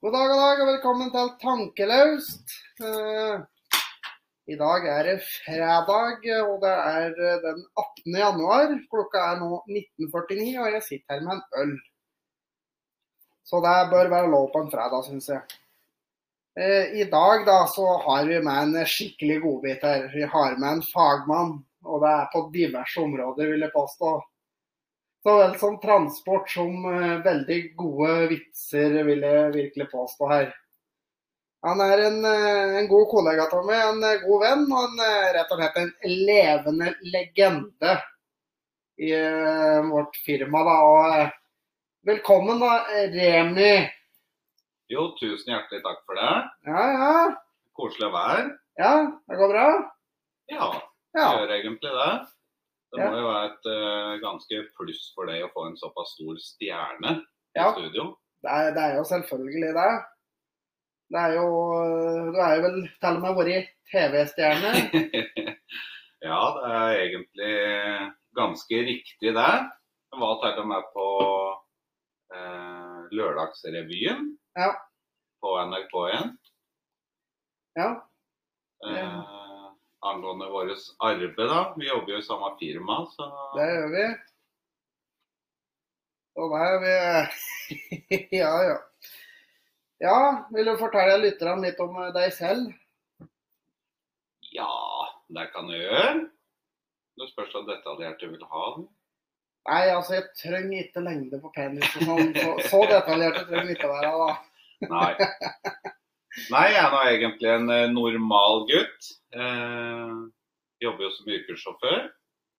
God dag, god dag, og velkommen til Tankelaust. Eh, I dag er det fredag, og det er eh, den 18. januar. Klokka er nå 19.49, og jeg sitter her med en øl. Så det bør være lov på en fredag, syns jeg. Eh, I dag da, så har vi med en skikkelig godbit her. Vi har med en fagmann, og det er på diverse områder, vil jeg påstå. Så vel som transport som eh, veldig gode vitser, vil jeg virkelig påstå her. Han er en, eh, en god kollega av meg, en eh, god venn og en, eh, rett og slett en levende legende i eh, vårt firma. Da. Og, eh, velkommen, da, Remi. Jo, tusen hjertelig takk for det. Ja, ja. Koselig vær. Ja, det går bra? Ja, Ja. gjør egentlig det. Det Ja. må jo være et eh, ganske pluss for deg å få en såpass stor stjerne i Ja. studio. Det er, det er jo selvfølgelig det. Det er jo eh, Du er jo vel til og med vært TV-stjerne. ja, det er egentlig ganske riktig det. Jeg var til og med på eh, Lørdagsrevyen Ja. på NRK1. Ja. eh, Angående vårt arbeid, da. Vi jobber jo i samme firma, så Det gjør vi. Og der er vi Ja, ja. Ja, vil du fortelle lytterne litt om deg selv? Ja, det kan jeg gjøre. Det spørs hvor detaljert du vil ha den. Nei, altså, jeg trenger ikke lengde på penis og sånn. Så, så detaljert trenger jeg ikke være, da. Nei. Nei, jeg er nå egentlig en eh, normal gutt. Eh, jobber jo som yrkessjåfør.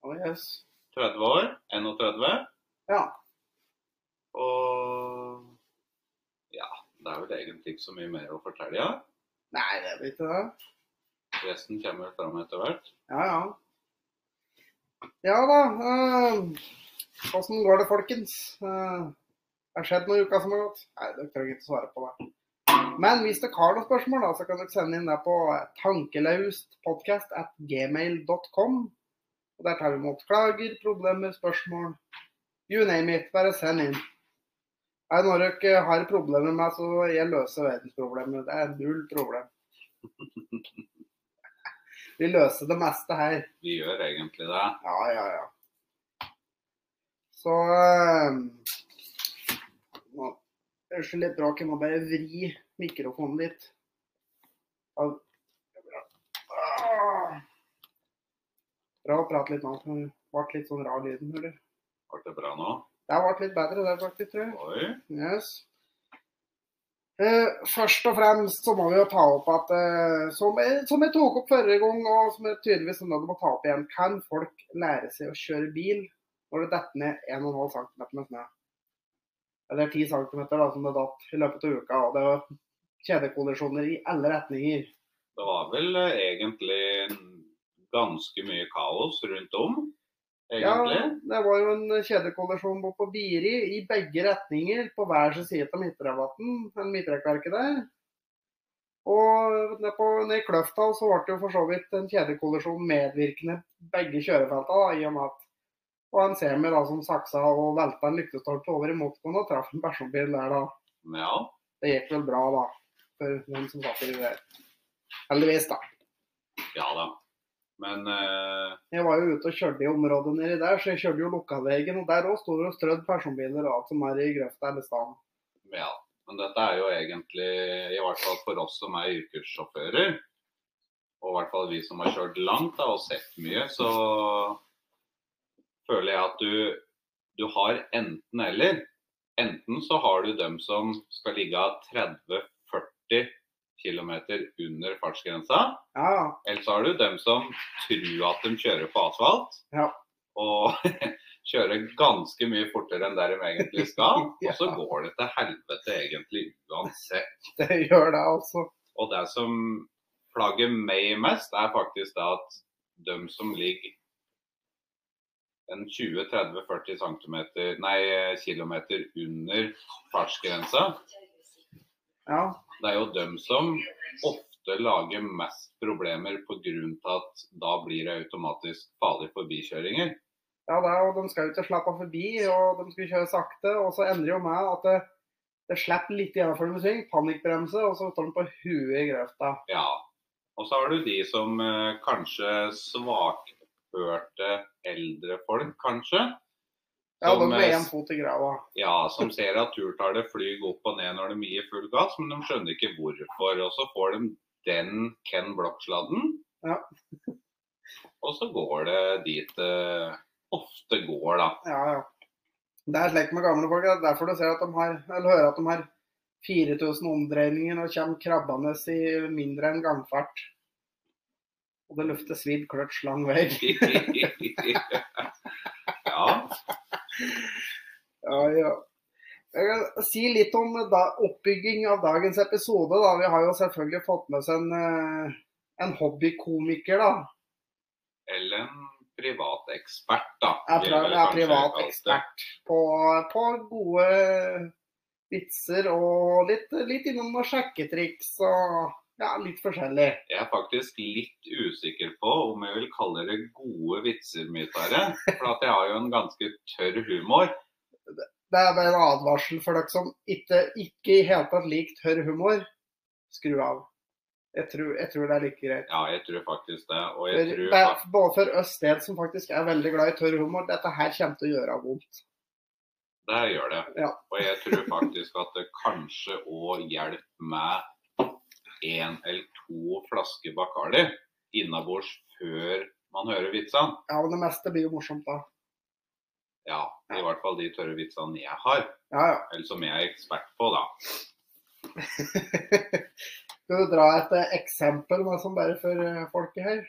Å, jøss. 30 år. 31. Ja. Og ja, det er vel egentlig ikke så mye mer å fortelle. Ja. Nei, det er vel ikke det. Resten kommer vel fram etter hvert. Ja, ja. Ja da. Åssen går det, folkens? Eh, det har skjedd noe i uka som har gått? Nei, dere trenger ikke svare på det. Men hvis dere har noen spørsmål, da, så kan dere sende inn det på tankelaustpodcast.gmail.com. Og Der tar vi imot klager, problemer, spørsmål. You name it. Bare send inn. Er det noe dere har problemer med, så jeg løser verdensproblemer. Det er null problem. Vi løser det meste her. Vi gjør egentlig det. Ja, ja, ja. Så eh, nå, Unnskyld litt bråk, jeg må bare vri mikrofonen litt. Av- Ah. Bra å prate litt nå. for Det ble litt sånn rar lyden, eller? Ble det bra nå? Det ble litt bedre der, faktisk, tror jeg. Oi. Yes. Eh, først og fremst så må vi jo ta opp at eh, som, jeg, som jeg tok opp forrige gang, og som jeg tydeligvis nå må ta opp igjen, kan folk lære seg å kjøre bil når det detter ned 1,5 cm med snø? Eller 10 cm, da, som det datt i løpet av uka. og Det var kjedekollisjoner i alle retninger. Det var vel eh, egentlig ganske mye kaos rundt om, egentlig. Ja, det var jo en kjedekollisjon borte på Biri i begge retninger på hver sin side av Midtrabatten, en midtrekkverket der. Og ned på, ned i Kløfta så ble det jo for så vidt en kjedekollisjon medvirkende begge kjørefelta, da, i og med at det var en semi da, som saksa og velta en lyktestolpe over i motgående og traff en personbil der, da. Men ja. Det gikk vel bra, da, for den som satt i det. Heldigvis, da. Ja da. Men eh, Jeg var jo ute og kjørte i området nedi der, så jeg kjørte jo lokalvegen. Og der òg sto det og strødd personbiler og alt som er i grøfta eller staden. ja. Men dette er jo egentlig, i hvert fall for oss som er yrkessjåfører, og i hvert fall vi som har kjørt langt da, og sett mye, så føler jeg at du, du har enten-eller. Enten så har du dem som skal ligge av 30-40 km under fartsgrensa, Ja, ja. eller så har du dem som tror at de kjører på asfalt. Ja. og kjører ganske mye fortere enn der de egentlig skal. Ja. Og så går det til helvete egentlig uansett. Det gjør det, altså. Og det som plager meg mest, er faktisk det at de som ligger en 20-30-40 cm, nei, kilometer under fartsgrensa, Ja. det er jo dem som ofte lager mest problemer pga. at da blir det automatisk farlige forbikjøringer. ja det, er- og de skal jo ikke slappe av forbi, og de skulle kjøre sakte. Og så endrer jo meg at det, Det slipper litt igjen før de svinger, panikkbremse, og så står den på huet i grøfta. Ja. Og så har du de som eh, kanskje svakførte eldre folk, kanskje. Ja, Som, de eh, med én fot i grava. Ja, som ser at turtallet flyr opp og ned når de gir full gass, men de skjønner ikke hvorfor. Og så får de den Ken Block-sladden. Ja. og så går det dit det ofte går, da. Ja, ja. Det er slik med gamle folk. Det er derfor du ser at de har, eller hører at de har 4000 omdreininger og kommer krabbende i mindre enn gangfart. Og det lufter svidd kløtsj lang vei. ja. Ja, ja. Jeg kan si litt om da, oppbygging av dagens episode. Da. Vi har jo selvfølgelig fått med oss en, eh, en hobbykomiker, da. Eller en privatekspert, da. Jeg vil er, jeg vel jeg er kanskje privat kalle det. ekspert på, på gode vitser og litt, litt innom noen sjekketriks og ja, litt forskjellig. Jeg er faktisk litt usikker på om jeg vil kalle det gode vitser, mytere. For at jeg har jo en ganske tørr humor. Det er bare en advarsel for dere som ikke, ikke i hele tatt liker tørr humor. Skru av. Jeg tror, jeg tror det er like greit. Ja, jeg tror faktisk det. Og For, jeg tror det er både for oss del som faktisk er veldig glad i tørr humor, dette her kommer til å gjøre vondt. fak- det gjør det. Ja. Og jeg tror faktisk at det kanskje òg hjelper med én eller to flasker Bacardi innabords før man hører vitsene. Ja, men det meste blir jo morsomt da. Ja, i hvert fall de tørre vitsene jeg har, Ja, ja. eller som jeg er ekspert på, da. Skal du dra et eh, eksempel med som bare for eh, folket her?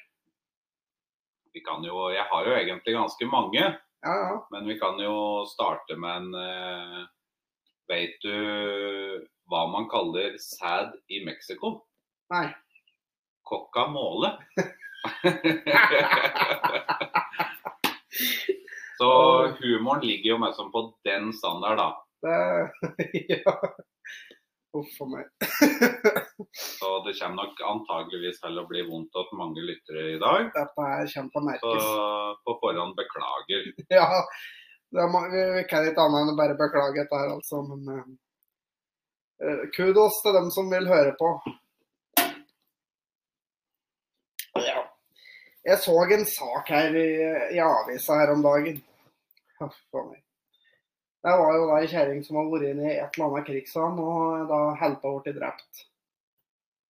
Vi kan jo, jeg har jo egentlig ganske mange. Ja, ja. Men vi kan jo starte med en eh, Vet du hva man kaller sæd i Mexico? Nei. Coca måle. Så humoren ligger jo mest som på den standard, da. Det Eh, Ja. Uff a meg. Så det kommer nok antageligvis til å bli vondt at mange lyttere i dag. Dette her kommer til å Så merkes. på forhånd beklager. Ja. Det må, vi, vi kan ikke annet enn å bare beklage dette her, altså. Men eh, eh, kudos til dem som vil høre på. Ja. Jeg så en sak her i, i avisa her om dagen. Huff a meg. Det var jo da ei kjerring som har vært inne i et eller annet krigshavn og da helta ble drept.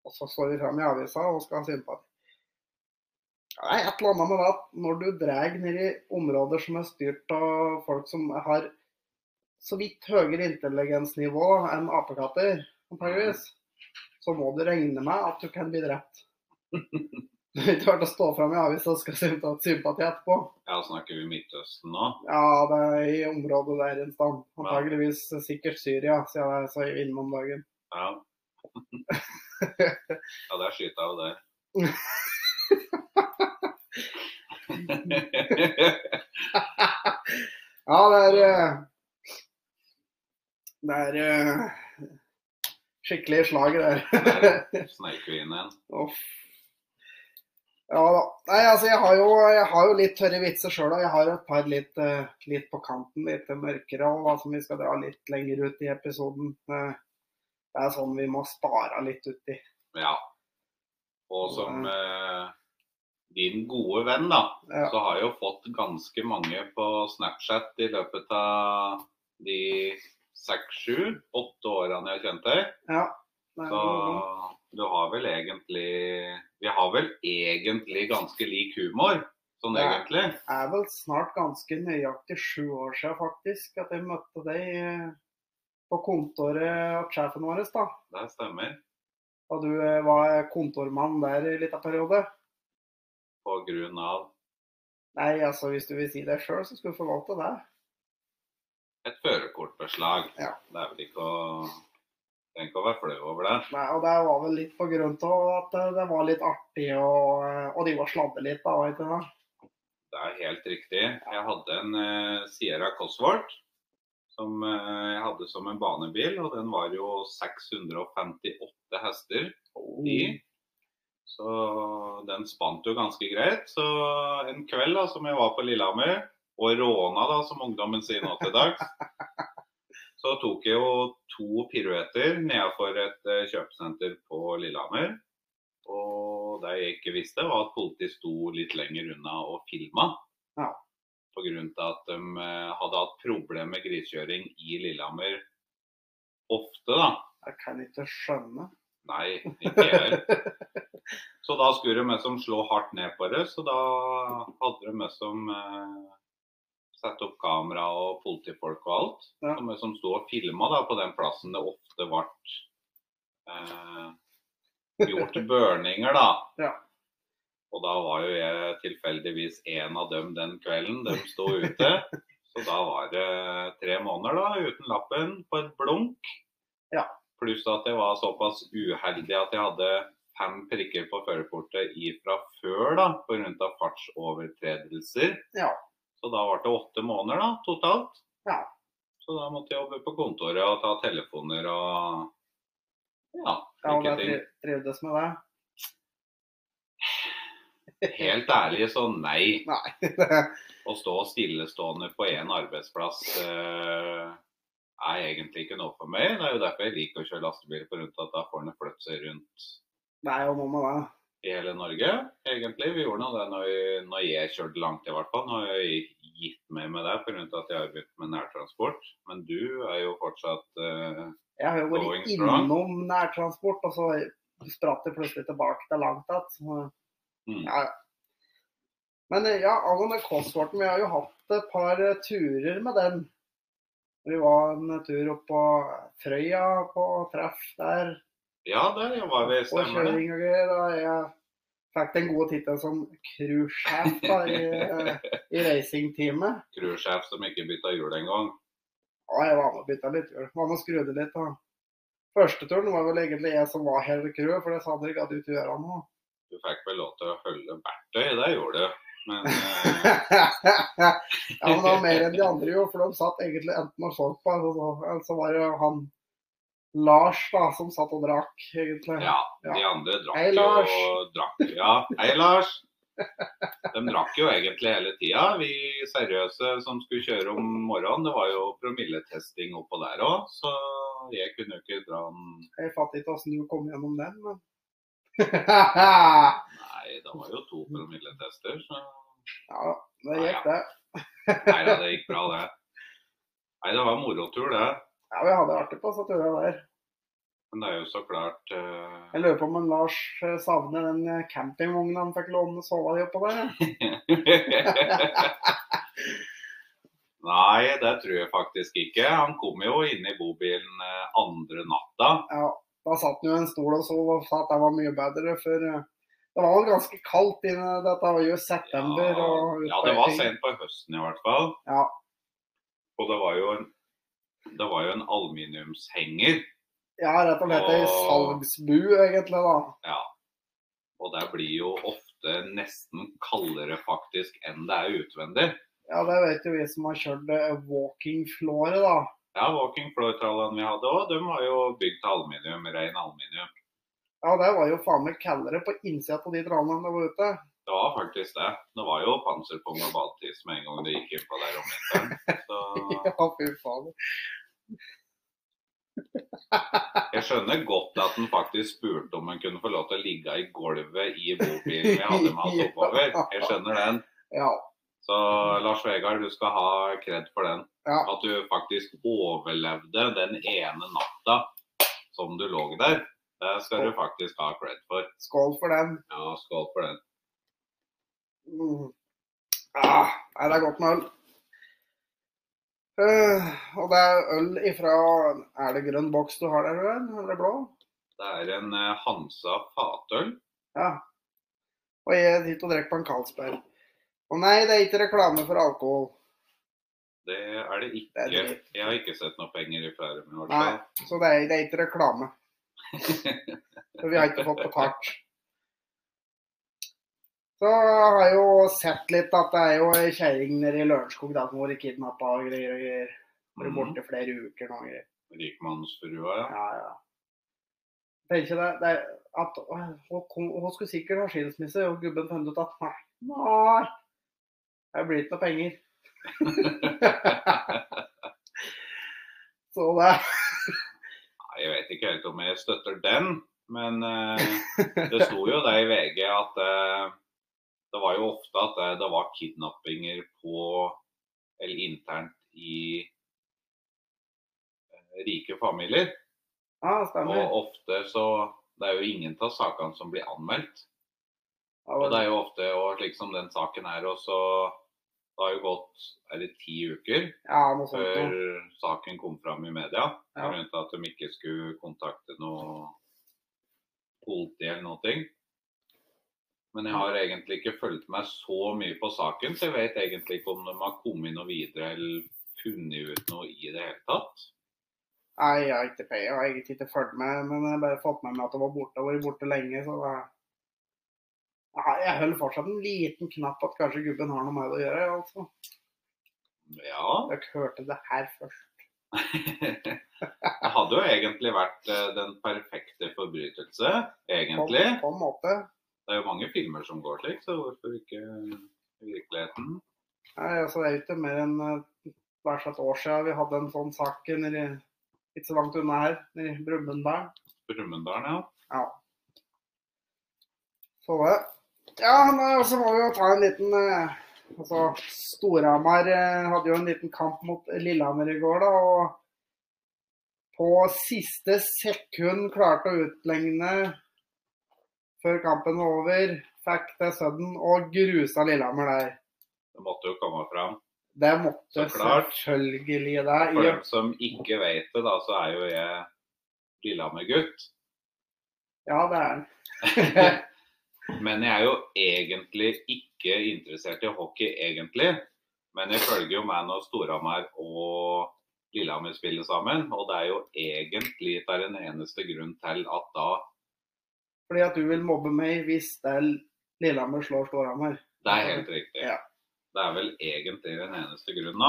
Og så står vi fram i avisa og skal ha sympati. Ja, Det er et eller annet med det at når du drar ned i områder som er styrt av folk som har så vidt høyere intelligensnivå enn apekatter, antageligvis, så må du regne med at du kan bli drept. Du har ikke vært å stå fram i avisa og skal ha sympati etterpå. Ja, snakker vi Midtøsten nå? Ja, det er i området der en stand. Antageligvis sikkert Syria, siden jeg så innom dagen. Ja. Ja, der skyter jeg jo der. Ja, det er eh, Det er eh, skikkelig slag der. Der sneik vi inn en. Uff. Ja da. Nei, altså, jeg har jo, jeg har jo litt tørre vitser sjøl, og jeg har et par litt, eh, litt på kanten, litt mørkere, og da, som vi skal dra litt lenger ut i episoden. Eh, Det er sånn vi må spare litt uti. Ja. Og som eh, din gode venn, da, Ja. så har jeg jo fått ganske mange på Snapchat i løpet av de seks, sju, åtte årene jeg har kjent deg. Ja. det er Så noe. du har vel egentlig Vi har vel egentlig ganske lik humor, sånn Ja. egentlig. Det er vel snart ganske nøyaktig sju år siden faktisk at jeg møtte deg eh, på kontoret av sjefen vår. da. Det stemmer. Da du eh, var kontormann der i en liten periode. På grunn av Nei, altså hvis du vil si det sjøl, så skal du forvalte det. et førerkortbeslag. Ja. Det er vel ikke å Trenger ikke å være flau over det. Nei, og det var vel litt på grunn av at eh, det var litt artig og, eh, og de var sladde litt, da, vet du det? Det er helt riktig. Jeg hadde en eh, Sierra Cosworth som eh, jeg hadde som en banebil, og den var jo 658 hester i. Så den spant jo ganske greit. Så en kveld da, som jeg var på Lillehammer, og råna da, som ungdommen sier nå til dags, Så tok jeg jo to piruetter nedenfor et eh, kjøpesenter på Lillehammer. Og det jeg ikke visste, var at politiet sto litt lenger unna og filma. Ja. Pga. at de eh, hadde hatt problemer med grisekjøring i Lillehammer ofte, da. Jeg kan ikke skjønne. Nei, ikke jeg heller. Så da skulle de liksom slå hardt ned på det. Så da hadde de liksom eh, satt opp kamera og politifolk og alt. Ja. Som liksom sto og filma da, på den plassen det ofte ble eh, gjort børninger, da. Ja. Og da var jo jeg tilfeldigvis en av dem den kvelden de sto ute. Så da var det tre måneder da, uten lappen på et blunk. Ja. Pluss at jeg var såpass uheldig at jeg hadde fem prikker på førerkortet ifra før da, pga. fartsovertredelser. Ja. Så da ble det åtte måneder da, totalt. Ja. Så da måtte jeg jobbe på kontoret og ta telefoner og ja, Ja, og slike jeg ting. triv- trivdes med det. Helt ærlig så nei. Nei. Å stå stillestående på én arbeidsplass eh, er egentlig ikke noe for meg. Det er jo derfor jeg liker å kjøre lastebil, for rundt at da får en flytte seg rundt Det er jo noe med det. i hele Norge, egentlig. Vi gjorde nå det når, når jeg kjørte langt, i hvert fall. Nå har jeg gitt meg med det pga. at jeg har begynt med nærtransport. Men du er jo fortsatt eh, Jeg har jo Going vært strong. innom nærtransport, og så spratt det plutselig tilbake til langt igjen. mm, Ja. Men eh, ja, angående Cosworthen, vi har jo hatt et par eh, turer med den. Vi var en tur opp på Frøya på treff der, Ja, der var vi, og stemmer det. kjøring og greier. Og jeg fikk den gode tittelen som cruisesjef da, i, eh, i racingteamet. Crewsjef som ikke bytta hjul engang. Ja, jeg var med og bytta litt hjul. Var med og skrudde litt. da. Første turen var vel egentlig jeg som var hele crew, for det sa dere ikke at du gjøre noe. Du fikk vel lov til å holde verktøy, det gjorde du. Men ja, eh, men det var mer enn de andre, jo, for de satt egentlig enten og så på, eller så, eller så var det han Lars da, som satt og drakk, egentlig. ja, de andre drakk Hei, Lars. jo drakk, Ja, hei, Lars. De drakk jo egentlig hele tida. Vi seriøse som skulle kjøre om morgenen, det var jo promilletesting oppå der òg, så jeg kunne jo ikke dra den Jeg fatter ikke åssen du kom gjennom den, men Nei, det var jo to promilletester, så Ja, det gikk, det. Nei da, det gikk bra, det. Nei, det var morotur, det. Ja, Vi hadde det artig på så turene der. Men det er jo så klart eh, Jeg lurer på om en Lars eh, savner den eh, campingvognen han fikk låne og sove i oppå der. jeg. Nei, det tror jeg faktisk ikke. Han kom jo inn i bobilen eh, andre natta. Ja, da satt han jo i en stol og sov og sa at det var mye bedre, for eh, det var vel ganske kaldt inne. Dette var jo Ja, september. og ja, det var sent på høsten i hvert fall. Ja. Og det var jo en, det var jo en aluminiumshenger. Ja, rett og slett ei Åh. salgsbu, egentlig, da. Ja. Og det blir jo ofte nesten kaldere faktisk enn det er utvendig. Ja, det vet jo vi som har kjørt eh, walking floor, da. Ja, Walking Floor-trallene vi hadde òg, de var jo bygd av aluminium, ren aluminium. Ja, det var jo faen meg kaldere på innsida av de trallene enn det var ute. Det var faktisk det. Det var jo panserpung og badetiss med en gang det gikk inn på der om vinteren. Så Ja, fy faen. jeg skjønner godt at han faktisk spurte om han kunne få lov til å ligge i gulvet i bobilen vi hadde med oss oppover. Jeg skjønner den. Ja. Så Lars Vegard, du skal ha kred for den. Mhm. Ja. At du faktisk overlevde den ene natta som du lå der. Det skal du faktisk ha kred for. Skål for den. Ja, skål for den. Mm. Ah, nei, det er godt med øl. Eh, og det er øl ifra Er det grønn boks du har der, vel? Eller blå? Det er en eh, Hansa fatøl. Ja. Og jeg sitter og drikker på en Carlsberg. Å nei, det er ikke reklame for alkohol. Det er det ikke. Det er dritt. Jeg har ikke sett noe penger i flere min hvert Nei, fall. så det er, det er ikke reklame. For vi har ikke fått betalt. Så har jeg jo sett litt at det er jo ei kjerring nede i Lørenskog da, som har vært kidnappa og greier og greier. Vært Mhm. borte i flere uker nå og greier. Mm, Rikmannsfrua, ja. Ja, ja. Tenker det, det er at å, hun, kom, hun skulle sikkert ha skilsmisse, og gubben fant ut at nei, nei, det blir ikke noe penger. Så det, Nei, Jeg vet ikke helt om jeg støtter den, men eh, det sto jo det i VG at eh, det var jo ofte at eh, det, det var kidnappinger på eller internt i eh, rike familier. ja, stemmer. Og ofte så Det er jo ingen av sakene som blir anmeldt. Ja, Og vel. det er jo ofte, og slik som den saken her også, det har jo gått er det ti uker ja, noe sånt. før noe. saken kom fram i media. Ja. Jeg mente at de ikke skulle kontakte noe politi eller noe. ting. Men jeg har egentlig ikke fulgt meg så mye på saken, så jeg vet egentlig ikke om de har kommet noe videre eller funnet ut noe i det hele tatt. Nei, jeg har ikke peiling. Jeg har egentlig ikke fulgt med, men jeg har bare fått med meg at det var borte. Jeg har vært borte lenge, så det Nei, jeg holder fortsatt en liten knapp at kanskje gubben har noe med det å gjøre. altså. Ja. Dere hørte det her først. det hadde jo egentlig vært eh, den perfekte forbrytelse, egentlig. På, på en måte. Det er jo mange filmer som går slik, så hvorfor ikke i virkeligheten? Nei, altså Det er jo ikke mer enn eh, hvert sitt år siden vi hadde en sånn sak nede i- ikke så langt unna her, nede i Brumunddal. Brumunddal, ja. Så det. Ja, nei, og så må vi jo ta en liten eh, altså Storhamar eh, hadde jo en liten kamp mot Lillehammer i går, da. og på siste sekund klarte å utligne før kampen var over. Fikk til sudden og grusa Lillehammer der. Det måtte jo komme fram. Det måtte Så klart. selvfølgelig det. For I dem som ikke vet det, da, så er jo jeg Lillehammer-gutt. Ja, det er den. Men jeg er jo egentlig ikke interessert i hockey, egentlig. Men jeg følger jo med når Storhamar og Lillehammer spiller sammen. Og det er jo egentlig det er den eneste grunnen til at da Fordi at du vil mobbe meg hvis det er Lillehammer slår Storhamar. Det er helt riktig. Ja. Det er vel egentlig den eneste grunnen da.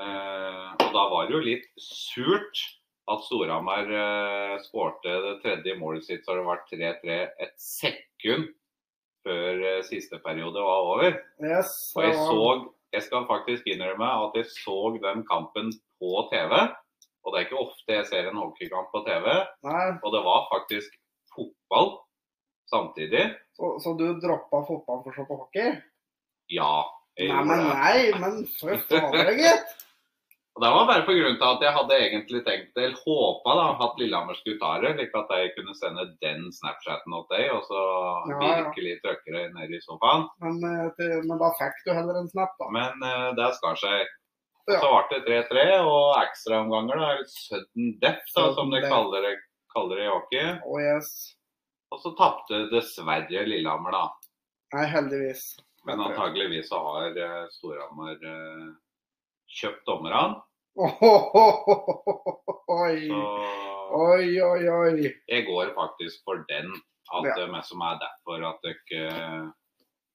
Eh, og da var det jo litt surt at Storhamar eh, skårte det tredje målet sitt, så det var 3-3 et sekund før eh, siste periode var over. Yes, Og jeg det så, var- jeg skal faktisk innrømme at jeg så den kampen på TV. Og det er ikke ofte jeg ser en hockeykamp på TV. Nei, Og det var faktisk fotball samtidig. så, så du droppa fotballen for å se på hockey? Ja, jeg Nei, gjorde men det. nei, men fy fader, gitt. Og Det var bare på grunn til at jeg hadde egentlig tenkt, eller håpa da, at Lillehammer skulle ta det, slik at jeg kunne sende den Snapchaten til deg, og så Ja, ja. virkelig trykke deg ned i sofaen. Men, eh, til- men da fikk du heller en snap, da. Men eh, det skar seg. Og Ja. Så ble det 3-3 og ekstraomganger, da, eller sudden death, da, som Sudden de death. kaller det, kaller det i hockey. Oh yes. Og så tapte dessverre Lillehammer, da. Nei, heldigvis. Men antageligvis så har eh, Storhamar eh, kjøpt dommerne. Oi, Mm. Så oi, oi. oi. Jeg går faktisk for den. At Ja. det er meg som er derfor at dere ikke eh,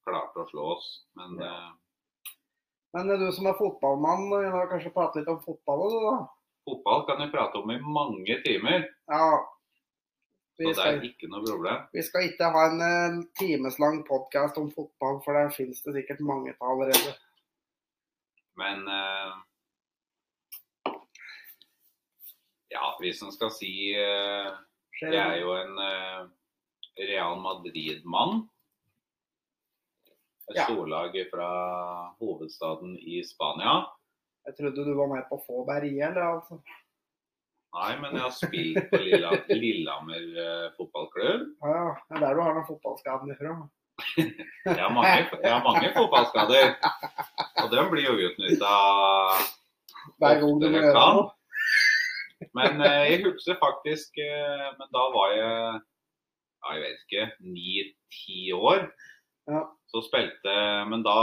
klarte å slå oss. Men eh, Men eh, du som er fotballmann, vi har kanskje pratet litt om fotball, du da? fotball kan jeg prate om i mange timer, Ja. så Vi det skal er ikke noe problem. Vi skal ikke ha en eh, timeslang podkast om fotball, for der finnes det sikkert mange av allerede. Men eh, ja, hvis en skal si eh, Jeg er jo en eh, Real Madrid-mann. Et Ja. storlag fra hovedstaden i Spania. Jeg trodde du var med på få berge, eller altså. Nei, men jeg har spilt på Lilla, Lillehammer eh, fotballklubb. Ja, ja. Det er der du har den fotballskaden ifra. Jeg har mange, jeg har mange fotballskader. Og de blir jo utnytta. Hver gang du Oftere må gjøre kan. noe. Men eh, jeg husker faktisk eh, Men da var jeg ja, jeg vet ikke, ni-ti år. Ja. Så spilte Men da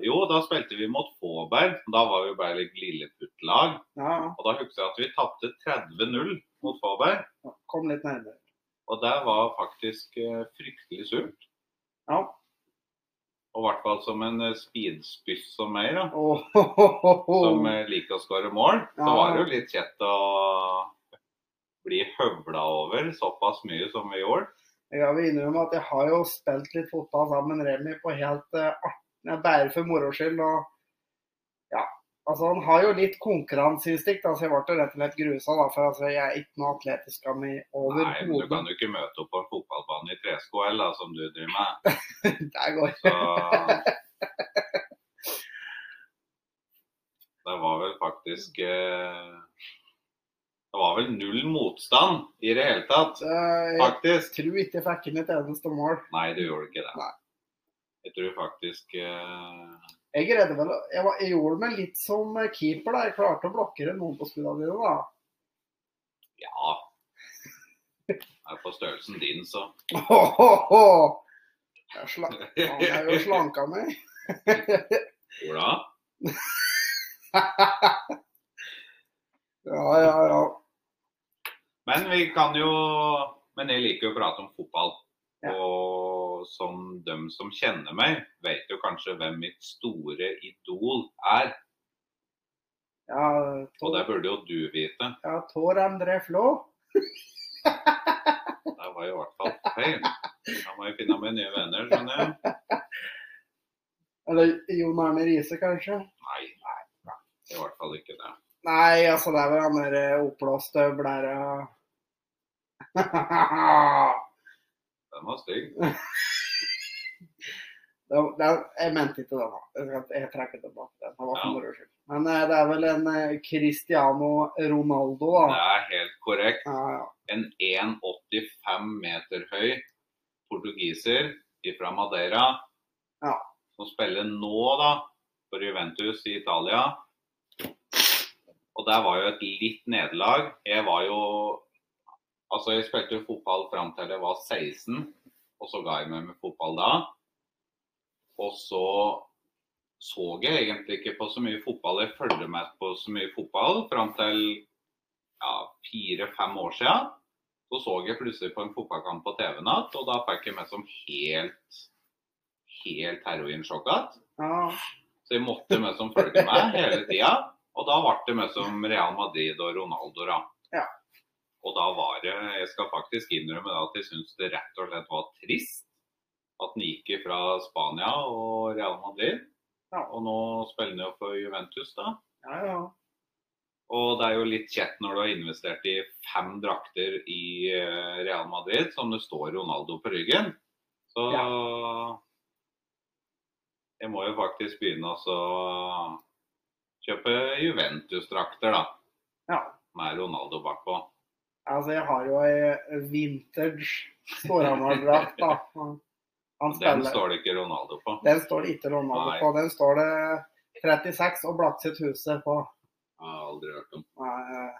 Jo, da spilte vi mot Fåberg. Da var vi bare et lilleputtlag. Ja, ja. Og da husker jeg at vi tapte 30-0 mot Fåberg. Ja, Kom litt nærmere. Og det var faktisk eh, fryktelig surt. Ja. Og i hvert fall som en eh, speedspyss som meg, da. Åh, ho, ho, ho, ho. som eh, liker å skåre mål, så Ja. var det jo litt kjett å bli høvla over såpass mye som vi gjorde. Jeg vil innrømme at jeg har jo spilt litt fotball sammen med Remi på helt eh, art- Bare for moro skyld. Og ja, Altså, han har jo litt konkurranseinstinkt, da, så jeg ble rett og slett grusa. Da, for altså, jeg er ikke noe atletisk av meg Nei, men du overhodet. kan jo ikke møte opp på en fotballbane i tresko heller, som du driver med. Der går Så Det var vel faktisk eh, Det var vel null motstand i det hele tatt, Eh, Jeg faktisk. tror ikke jeg fikk inn et eneste mål. Nei, du gjorde ikke det. Nei. Jeg tror faktisk eh, Jeg, redde vel, jeg, var, jeg gjorde meg litt som eh, keeper. da. Jeg klarte å blokkere noen på skuddene dine. da. Ja. Det er på størrelsen din, så. Åhåhå! Jeg sla- Faen, jeg er jo slanka meg. Ola? Ja, ja, ja. Men vi kan jo Men jeg liker jo å prate om fotball. Ja. Og som dem som kjenner meg, vet jo kanskje hvem mitt store idol er. ja Og det Tor- burde jo du vite. ja, Tor André Flå. Det var jo i hvert fall feil. Da må jeg finne meg nye venner, skjønner jeg. Eller Jon Arne Riise, kanskje? Nei, nei, nei. I hvert fall ikke det. Nei, altså, det er vel han derre oppblåste blæra det, Den var stygg. det, Jeg mente ikke den, da. Jeg skal- Jeg trekker tilbake den. Det var for Ja. moro skyld. Men eh, det er vel en eh, Cristiano Ronaldo, Det da. er helt korrekt. Ja, ja. en 1,85 meter høy portugiser fra Madeira. Ja. Som spiller nå, da, for Juventus i Italia. Og der var jo et litt nederlag. Jeg var jo Altså, jeg spilte jo fotball fram til jeg var 16, og så ga jeg meg med fotball da. Og så så jeg egentlig ikke på så mye fotball. Jeg følger med på så mye fotball fram til ja, fire-fem år siden. Så så jeg plutselig på en fotballkamp på TV natt, og da fikk jeg meg som helt, helt heroinsjokkat. ja. Så jeg måtte meg som følge med hele tida. Og da ble det meg som Real Madrid og Ronaldo, da. Ja. Og da var det Jeg skal faktisk innrømme da at jeg syns det rett og slett var trist at han gikk fra Spania og Real Madrid. Ja. Og nå spiller han jo for Juventus, da. ja, ja. Og det er jo litt kjett når du har investert i fem drakter i eh, Real Madrid, som det står Ronaldo på ryggen. Så jeg må jo faktisk begynne å så kjøpe Juventus-drakter, da. Ja. Med Ronaldo bakpå. Altså, jeg har jo ei vintage Storhamar-drakt, da. Han- Han Den spiller. står det ikke Ronaldo på. Den står det ikke Ronaldo Nei. på. Den står det 36 og Blakseth Huset på. Jeg har aldri hørt om. Eh,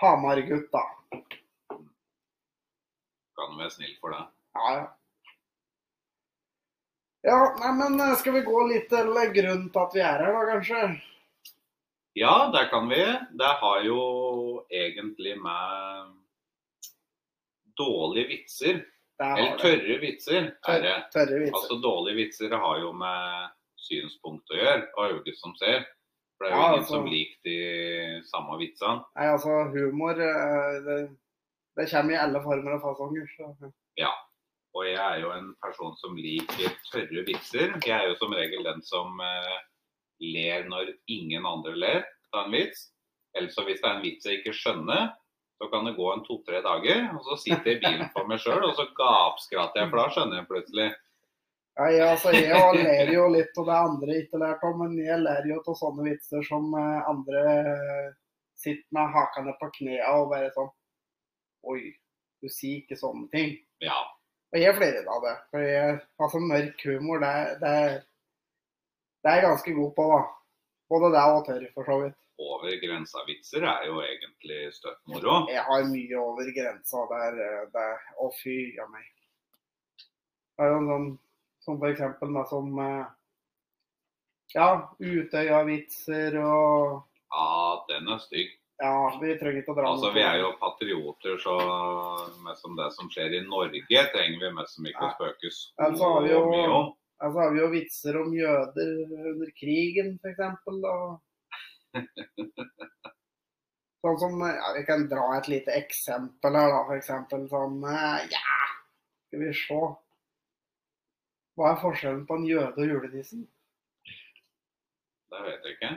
Hamar-gutt, da. Kan være snill for det. Ja, ja. Ja, nei, men eh, skal vi gå litt til grunnen til at vi er her, da, kanskje? Ja, det kan vi. Det har jo egentlig med dårlige vitser Der Eller har du. tørre vitser er det. Tørre vitser. Altså Dårlige vitser har jo med synspunkt å gjøre, og øyne som ser. For det er jo Ja, ingen altså. som liker de samme vitsene. Nei, altså, humor eh, det, det kommer i alle former og fasonger. Så. Og jeg er jo en person som liker tørre vitser. Jeg er jo som regel den som eh, ler når ingen andre ler av en vits. Eller så hvis det er en vits jeg ikke skjønner, så kan det gå en to-tre dager, og så sitter jeg i bilen for meg sjøl, og så gapskrater jeg, for da skjønner jeg plutselig. Nei, altså, jeg jo ler jo litt av det andre ikke lærte om, men jeg ler jo av sånne vitser som eh, andre eh, sitter med hakene på knærne og bare sånn Oi, du sier ikke sånne ting. Ja. Og jeg flirer av det. For jeg, altså, mørk humor, det, er- det, er- det er jeg ganske god på, da. Både det og tørr, for så vidt. Over grensa-vitser er jo egentlig støtt moro. Jeg har mye over grensa der. eh, der. Å, fy a meg. Det er jo en sånn som for eksempel meg som eh, Ja, Utøya-vitser og Ja, den er stygg. Ja, vi trenger ikke å dra Altså, noe på Vi er det. jo patrioter, så mest om det som skjer i Norge, trenger vi mest som ikke å spøke så Altså, har vi jo- mye om. Altså har vi jo vitser om jøder under krigen, for eksempel, og Sånn som ja, Vi kan dra et lite eksempel her, da. For eksempel sånn eh, Ja, skal vi se. Hva er forskjellen på en jøde og julenissen? Det vet jeg ikke.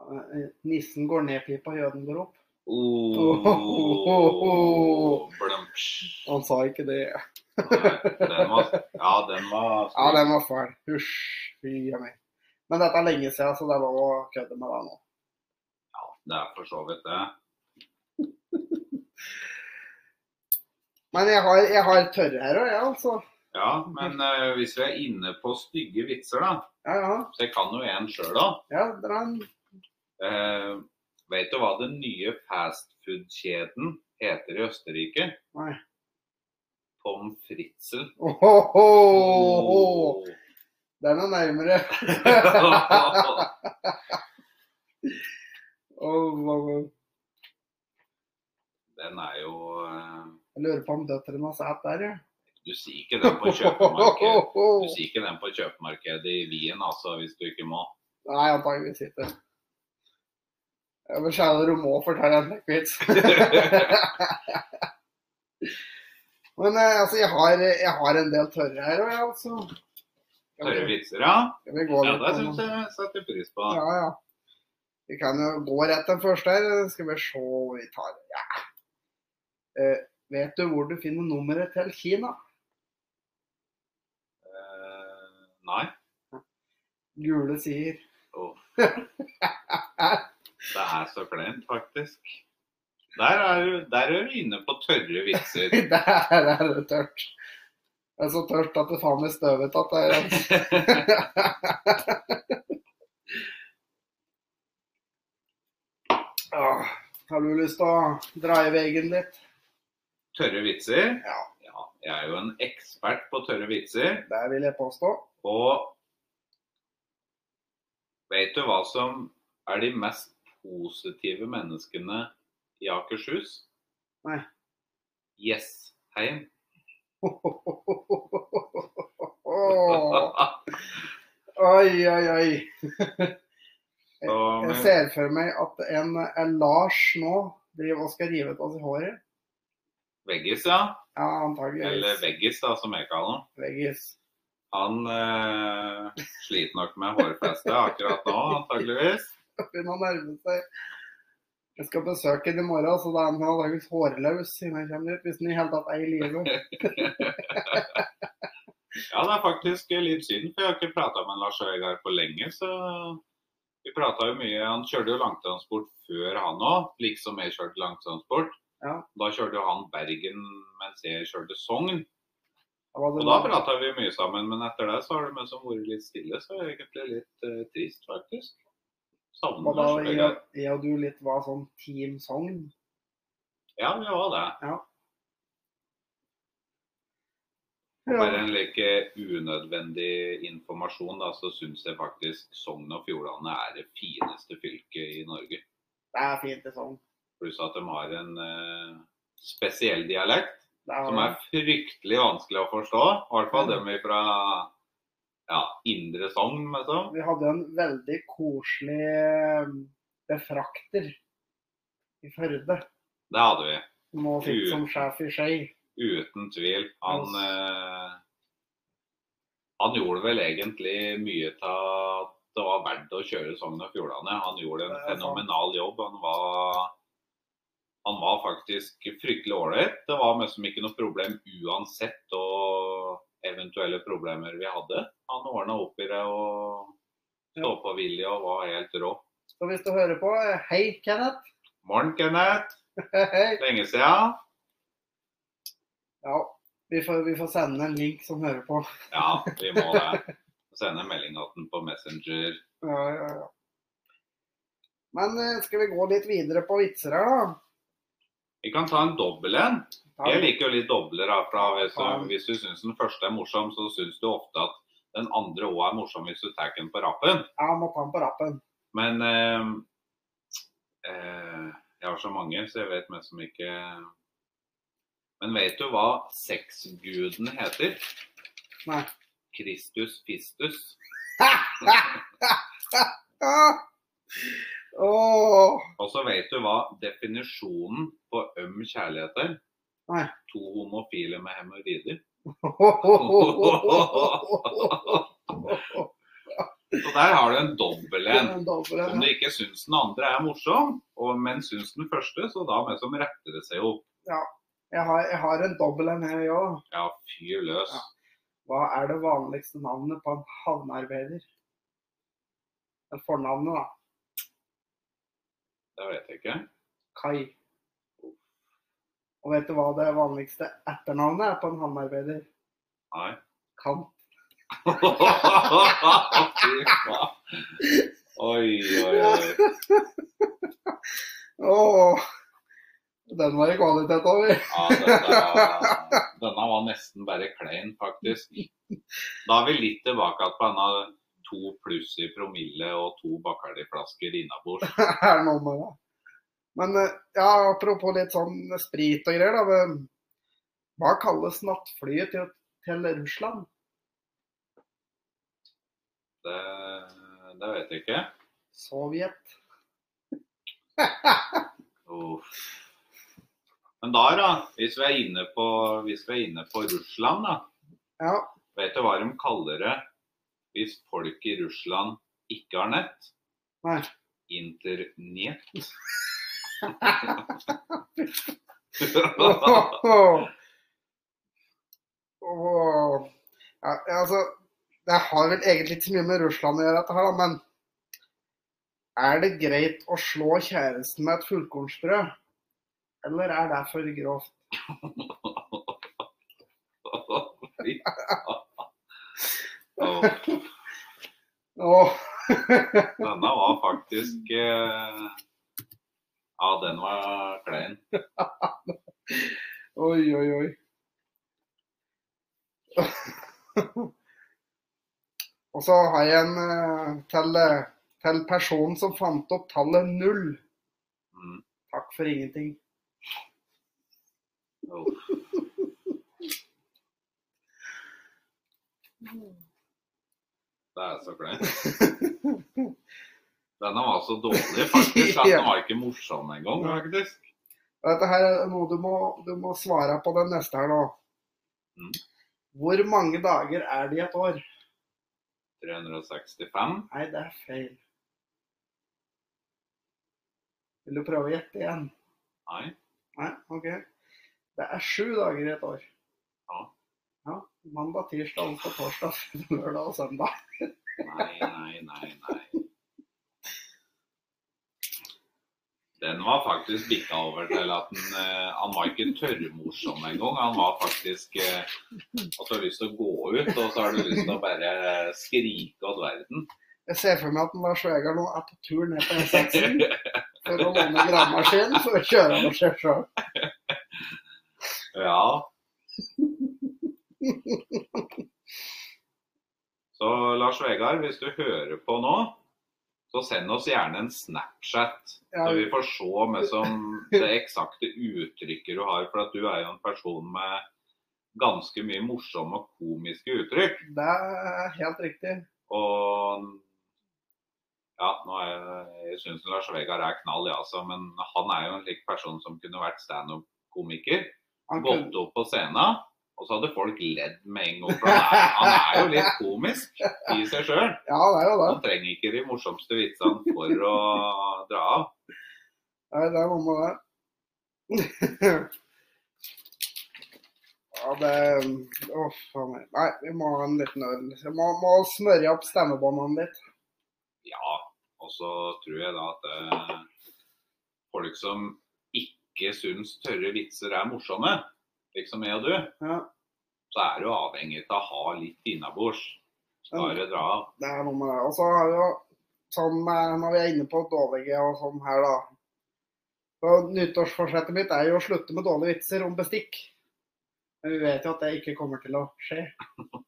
eh, nissen går ned pipa, jøden går opp. Oh, blumps. Han sa ikke det. Nei, Den var, ja, den var Ja, den var fæl. Hysj. Fy a meg. Men dette er lenge siden, så det er lov å kødde med deg nå. Ja, det er for så vidt det. Men jeg har, jeg har tørre her òg, jeg, altså. Ja, men eh, hvis vi er inne på stygge vitser, da. Ja, ja. Så jeg kan jo en sjøl, da. ja det er en... Eh, vet du hva den nye fastfood-kjeden heter i Østerrike? Nei. Tom Fritzel. Mm. Ohoho! Den er nærmere. Åh, hva- hva- Den er jo eh, jeg lurer på om døtrene satt der, ja. Du sier ikke den på kjøpemarkedet. Du sier ikke den på kjøpemarkedet i Wien, altså, hvis du ikke må. Nei, antageligvis ikke. Jeg vil skjære du må fortelle en vits. Men eh, altså, jeg har, jeg har en del tørre her òg, altså. Skal Tørre vi- vitser, ja? skal vi gå Ja, litt det på syns noe? jeg setter pris på. Ja, ja. Vi kan jo gå rett den første her. Skal vi se hvor vi tar det. Ja. Eh, vet du hvor du finner nummeret til Kina? Eh, Nei. Gule sier Åh. Det er så kleint, faktisk. Der er, du, der er du inne på tørre vitser. Der er det tørt. Det er så tørt at det faen meg støvet at det er Åh, Ah, Har du lyst til å dra i veggen litt? Tørre vitser? Ja. ja. Jeg er jo en ekspert på tørre vitser. Det vil jeg påstå. Og vet du hva som er de mest positive menneskene i Akershus? Nei. Jessheim. Åh, Oi, oi, oi. Så, Jeg men- ser for meg at en, en Lars nå driver og skal rive av seg håret. Veggis, ja. Ja, Eller antageligvis. Veggis, da, som jeg kaller han. Veggis. Han eh, sliter nok med hårfestet akkurat nå, antageligvis. begynner å nærme seg. Jeg skal besøke den i morgen, så da er han antakeligvis hårløs siden jeg kommer ut. Hvis han i hele tatt er i live. Ja, det er faktisk litt synd, for jeg har ikke prata med Lars Øygaard på lenge. Så vi prata jo mye. Han kjørte jo langtransport før han òg, liksom jeg kjørte langtransport. Ja. Da kjørte jo han Bergen mens jeg kjørte Sogn. Da var Og det da prata vi mye sammen, men etter det så har det liksom vært litt stille. Så er det egentlig litt eh, trist, faktisk. Og Savner da Lars jeg, Øygaard. jeg og du litt var sånn Team Sogn. Ja, vi var det. Ja. Bare en like unødvendig informasjon, da, så syns jeg faktisk Sogn og Fjordane er det fineste fylket i Norge. Det er sånn. fint i Sogn. Pluss at de har en eh, spesiell dialekt Det er, som er fryktelig vanskelig å forstå. I hvert fall dem fra ja, indre Sogn, liksom. Vi hadde en veldig koselig eh, befrakter i Førde. Det hadde vi. Som nå sitter som Gud. sjef i Skei. Uten tvil. Han, Yes. eh, han gjorde vel egentlig mye av at det var verdt å kjøre Sogn og Fjordane. Han gjorde en Det er sant. fenomenal jobb. Han var, han var faktisk fryktelig ålreit. Det var liksom ikke noe problem uansett og eventuelle problemer vi hadde. Han ordna opp i det og Ja. stå på vilje og var helt rå. Så hvis du hører på, eh, hei, Kenneth. Morn, Kenneth. Hei. Lenge sia. Ja, vi får, vi får sende en link som hører på. Ja, vi må det. Sende melding til han på Messenger. Ja, ja, ja. Men eh, skal vi gå litt videre på vitser her, da? Vi kan ta en dobbel en. Ta- Jeg liker jo litt dobler. da, fra hvis, Ja. hvis du syns den første er morsom, så syns du ofte at den andre òg er morsom hvis du tar den på rappen. Ja, må ta den på rappen. Men eh, eh, jeg har så mange, så jeg vet mest som ikke Men vet du hva sexguden heter? Nei. Kristus Fistus. Ah! Åh, Og så vet du hva definisjonen på øm kjærlighet er? Nei. To homofile med hemoroider. Så der har du en dobbel en. En dobbel Om en. du ikke syns den andre er morsom, og, men syns den første, så da med som retter det seg opp. Jeg har, jeg har en dobbel en her òg. Ja, fyr løs. Ja. Hva er det vanligste navnet på en havnearbeider? Det er Fornavnet, da. Det vet jeg ikke. Kai. Og vet du hva det vanligste etternavnet er på en havnearbeider? Nei. Kant. Fy faen. Oi, oi, oi. Åh, den var i kvalitet over. Ja, dette, denne var nesten bare klein, faktisk. Da er vi litt tilbake igjen på denne to pluss i promille og to Bacardi-flasker innabords. Er det noe med det. Men eh, ja, apropos litt sånn sprit og greier, da. Men hva kalles nattflyet til, til Russland? Det, det vet jeg ikke. Sovjet. Uff. Men da, da, hvis vi er inne på, hvis vi er inne på Russland, da. Ja, Vet du hva de kaller det hvis folk i Russland ikke har nett? Nei. Internett. Åh. Åh. Ja, altså, det har vel egentlig ikke så mye med Russland å gjøre, dette her, da, men er det greit å slå kjæresten med et fullkornsbrød? Eller er det for grovt? Fy faen. Åh, Åh, Denne var faktisk eh, Ja, den var klein. oi, oi, oi. Og så har jeg en eh, til, eh, til personen som fant opp tallet null. Mm. Takk for ingenting. Uff. Det er så kleint. Denne var så dårlig, faktisk, at den var ikke morsom engang, faktisk. Dette her er noe du må, du må svare på den neste her nå. Mm. Hvor mange dager er det i et år? 365. Nei, det er feil. Vil du prøve å gjette igjen? Nei. Nei, OK. Det er sju dager i et år. Ja. Ja, Mandag, tirsdag, onsdag, torsdag, fredag, lørdag og søndag. Nei, nei, nei, nei. Den var faktisk bikka over til at den, eh, han var ikke tørrmorsom engang. Han var faktisk eh, At du har lyst til å gå ut, og så har du lyst til å bare skrike åt verden. Jeg ser for meg at Lars Vegard nå er på tur ned på E6-en for å låne gravemaskinen for å kjøre over seg sjøl. Ja. Så Lars Vegard, hvis du hører på nå, så send oss gjerne en Snapchat. Ja. Så vi får se med som det eksakte uttrykket du har. For at du er jo en person med ganske mye morsomme og komiske uttrykk. Det er helt riktig. Og ja, nå er jeg, jeg syns Lars Vegard er knall, ja, altså. Men han er jo en slik person som kunne vært standup-komiker Han kunne- gått opp på scenen, og så hadde folk ledd med en gang. For han er, han er jo litt komisk i seg sjøl. Ja, det er jo det. Han trenger ikke de morsomste vitsene for å dra av. Nei, det er noe med det. ja, det Å, faen. meg. Nei, vi må ha en liten øl. Jeg må, må smøre opp stemmebåndene litt. Ja. Og så tror jeg da at eh, folk som ikke syns tørre vitser er morsomme, slik som jeg og du, Ja, så er du avhengig av å ha litt innabords. Skal det dra av. det er noe med det. Og så har vi jo sånn eh, når vi er inne på dårlige og sånn her, da. Så Nyttårsforsettet mitt er jo å slutte med dårlige vitser om bestikk. Men vi vet jo at det ikke kommer til å skje.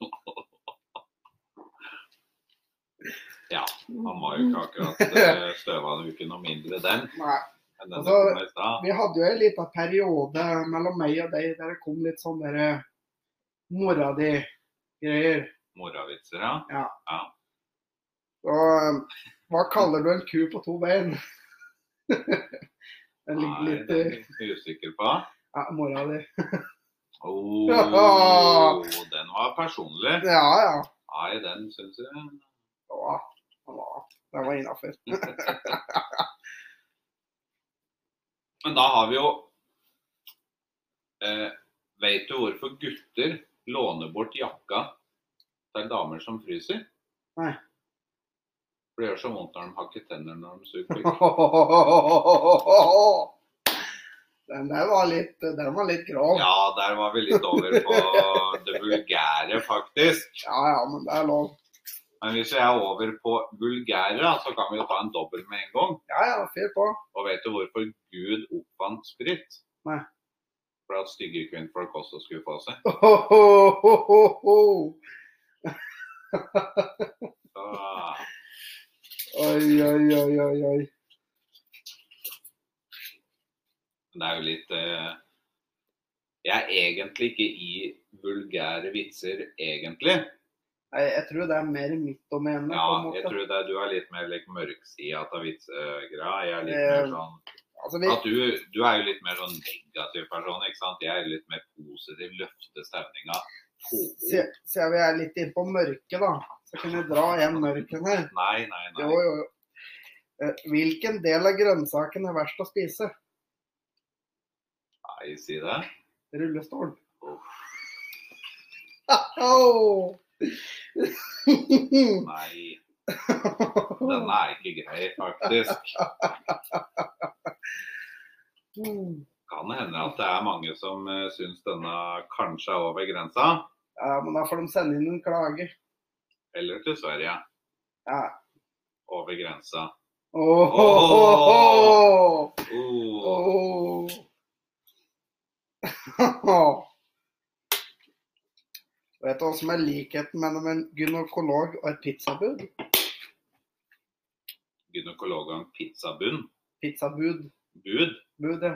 Ja. Han var jo ikke akkurat eh, støvende uke noe mindre den Mm. Nei. enn den Altså, som var i stad. Vi hadde jo en liten periode mellom meg og deg der det kom litt sånn derre mora di-greier. Moravitser, ja. Og eh, hva kaller du en ku på to bein? Den ligger Nei, litt eh, i det er jeg usikker på. ja, mora di. Oh, den var personlig. Ja, ja. Nei, den syns jeg Det var, det var, det var innafor. Men da har vi jo eh, Veit du hvorfor gutter låner bort jakka til damer som fryser? Nei. For det gjør så vondt når de hakker tenner når de suger. Den der var litt, den var litt grov. Ja, der var vi litt over på det vulgære, faktisk. Ja ja, men det er lov. Men hvis vi er over på vulgære, da, så kan vi jo ta en dobbel med en gang. Ja ja, fyr på. Og vet du hvorfor Gud oppfant sprit? Nei. For at stygge kvinnfolk også skulle få seg. Så, Oi, oi, oi, oi, oi. det er jo litt eh, Jeg er egentlig ikke i vulgære vitser, egentlig. Nei, jeg tror det er mer mitt domene. Ja, på en måte. jeg tror det, er- du er litt mer like, mørksida av vitsegreia. Jeg er litt mer Eh, sånn Altså, vi, at du, du er jo litt mer sånn negativ person, ikke sant? Jeg er litt mer positiv, løfte stemninga. se- Siden vi er litt inne på mørket, da, så kan vi dra igjen mørken her. Nei, nei, Jo, nei. jo, jo. Eh, Hvilken del av grønnsaken er verst å spise? Nei, si det. Rullestol. Uff. Au! Nei. Denne er ikke grei, faktisk. Kan hende at det er mange som uh, syns denne kanskje er over grensa. ja, men da får de sende inn en klage. Eller til Sverige. Ja. Over grensa. Åh, Oh. åh, åh. Vet du hva som er likheten mellom en gynekolog og et pizzabud? Gynekologene pizzabunn. Pizzabud. Bud. Bud, ja.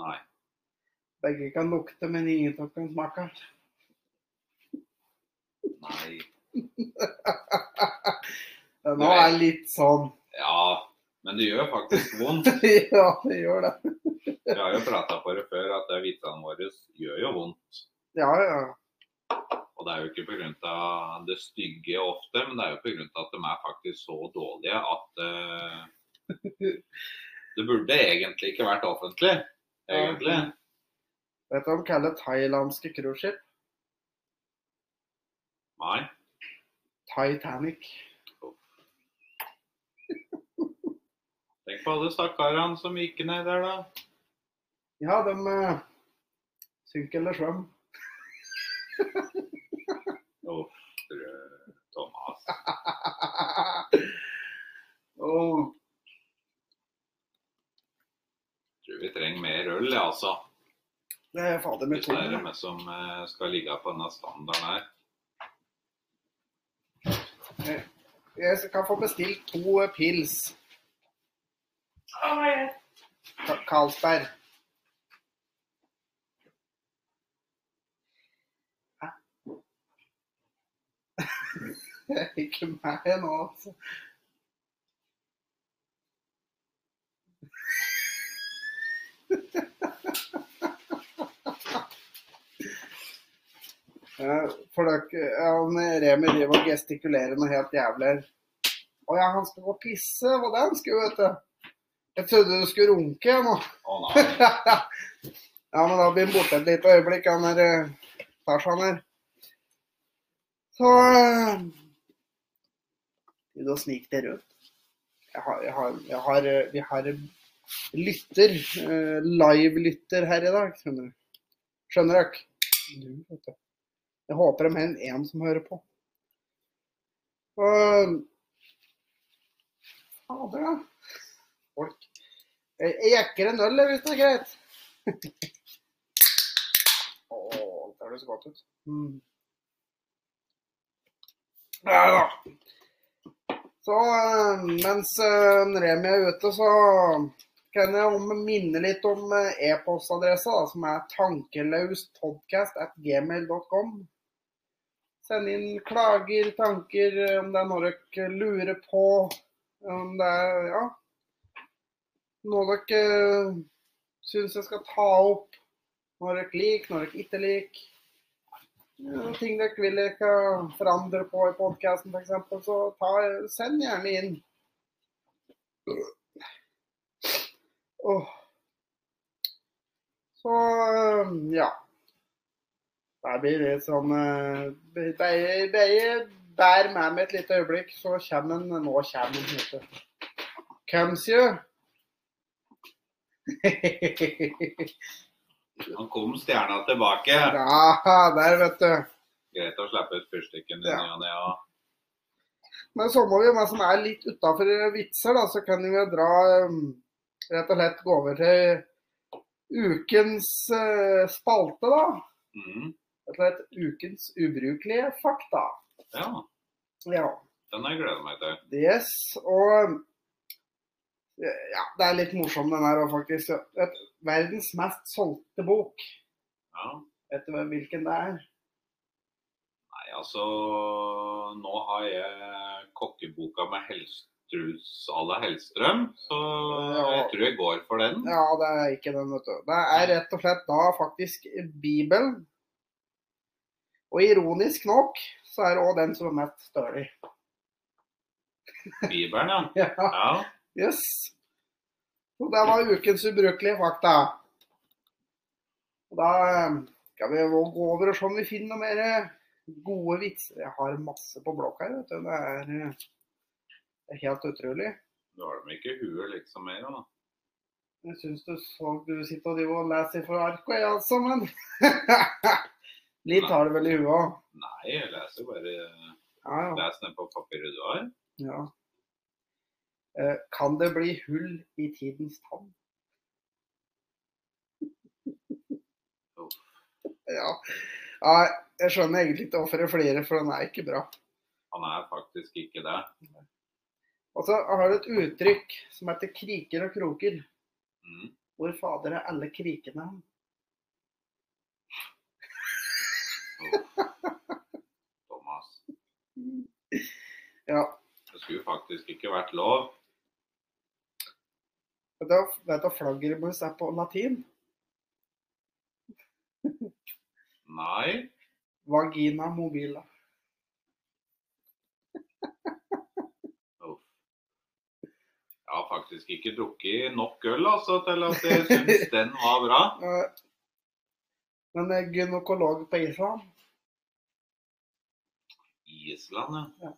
Nei. Begge kan lukte, men ingen som kan smake. Nei. Den nå er litt sånn. Ja. Men det gjør faktisk vondt. ja, det gjør det. Vi har jo prata på det før at det er vitsene våre gjør jo vondt. Ja, ja. Og det er jo ikke pga. det stygge ofte, men det er jo pga. at de er faktisk så dårlige at eh, Det burde egentlig ikke vært offentlig, egentlig. Vet du hva de kaller thailandske cruiseskip? Nei. Titanic. Tenk på alle stakkarene som gikk ned der, da. Ja, de eh, synker eller svømmer. Uff, rød Thomas. Åh, Tror vi trenger mer øl, ja, altså. det er fader med Hvis to. det er dem som eh, skal ligge på denne standarden her. Jeg kan få bestilt to eh, pils. Ka- Carlsberg. Hæ? Ikke meg nå, altså. Eh, For dere, han Remi driver og gestikulerer noe helt jævlig. her. Å ja, han skal gå og pisse. Hva det han skulle, vet du. Jeg trodde du skulle runke jeg, nå. Å nei. ja, men da blir han borte et lite øyeblikk, han der eh, Tarzan her. Så eh, Gud, og snik deg rundt. Jeg har, jeg har, jeg har, eh, vi har eh, lytter, eh, live-lytter her i dag, skjønner du. Skjønner dere? Du, vet du. Jeg håper det er mer enn én som hører på. Og, Fader, da. Folk jeg jeg jekker en øl, jeg, hvis det er greit. Å, det høres godt ut. Mm. Ja da. Så eh, mens eh, Remi er ute, så kan jeg om minne litt om eh, e-postadressa, da, som er tankelauspodcast.gmail.com. Send inn klager, tanker, eh, om det er noe dere lurer på, om det er ja, noe dere eh, syns jeg skal ta opp. Når dere liker, når dere ikke liker. eh, ting dere vil ikke forandre på i podkasten f.eks., så ta, send gjerne inn. Åh. Så eh, ja. Det blir litt sånn eh, det- det- det- Bær med meg et lite øyeblikk, så kommer en Nå kommer en, vet du. Comes you. Nå kom stjerna tilbake. ja, der, vet du. Greit å slippe ut fyrstikken i Ja. ny og ne. og- Men så må vi, men som er litt utafor vitser, da, så kan vi jo dra um, Rett og slett gå over til ukens eh, spalte, da. Mhm. Rett og slett ukens ubrukelige fakta. Ja, Ja. den har jeg gleda meg til. Yes. Og eh, ja, det er litt morsom den her òg, faktisk. Vet, verdens mest solgte bok. Ja. Vet du hvem- hvilken det er? Nei, altså Nå har jeg kokkeboka med Helstrus à la Hellstrøm, så jeg Ja. tror jeg går for den. Ja, det er ikke den, vet du. Det er rett og slett da faktisk Bibelen. Og ironisk nok så er det òg den som er mest stølig. Bibelen, ja. Ja, ja. yes. Så det var ukens ubrukelige fakta. Og Da eh, skal vi gå over og se om vi finner noen mer eh, gode vitser. Jeg har masse på blokka her, vet du. Det er, eh, det er helt utrolig. Du har dem ikke i huet liksom mer, da. Jeg syns du så du sitter og driver og leser fra arket, jeg altså, men Litt har du vel i huet òg. Nei, jeg leser bare Ja, ja. Les ned på papiret du har. ja. Eh, Kan det bli hull i tidens tann? Ja. ja. Jeg skjønner egentlig ikke hvorfor jeg flirer, for den er ikke bra. Han er faktisk ikke det. Og så har du et uttrykk som heter 'kriker og kroker'. Mhm. Hvor fader er alle krikene hen? Thomas. Ja. Det skulle faktisk ikke vært lov. Vet du- Vet du hva flaggermus er på latin? Nei. Vagina mobila. Uff. Jeg har faktisk ikke drukket nok øl altså, til at jeg syns den var bra. Eh, Men eh, gynekolog på Island Island, ja. Ja.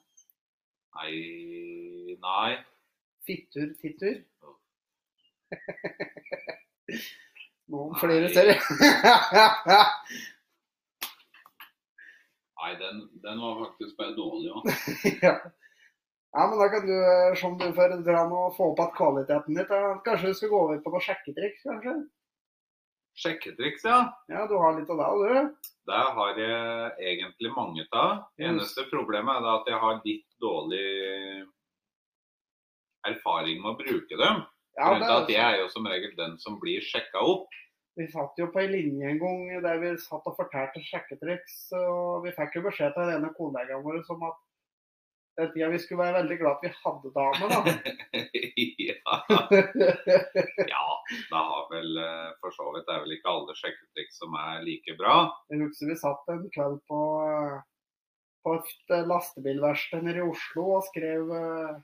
Nei Nei. Fittur tittur. Noen Nei. flere serier. Nei, den, den var faktisk bare dårlig òg. ja. ja, men da kan du, eh, som du får dra nå, få opp igjen kvaliteten litt. da. Kanskje du skal gå over på noe sjekketriks, kanskje? Sjekketriks, ja. Ja, du har litt av det, du. Der har jeg egentlig mange av. Eneste problemet er da at jeg har litt dårlig erfaring med å bruke dem. Ja, Grunnen til at det, jeg er jo som regel den som blir sjekka opp. vi satt jo på ei linje en gang der vi satt og fortalte sjekketriks. Og vi fikk jo beskjed til den ene kollegaen vår som at den tida vi skulle være veldig glad at vi hadde damer, da. ja. ja, det har vel eh, for så vidt Det er vel ikke alle sjekketriks som er like bra. Jeg husker vi satt en kveld på, eh, på et eh, lastebilverksted nede i Oslo og skrev, eh,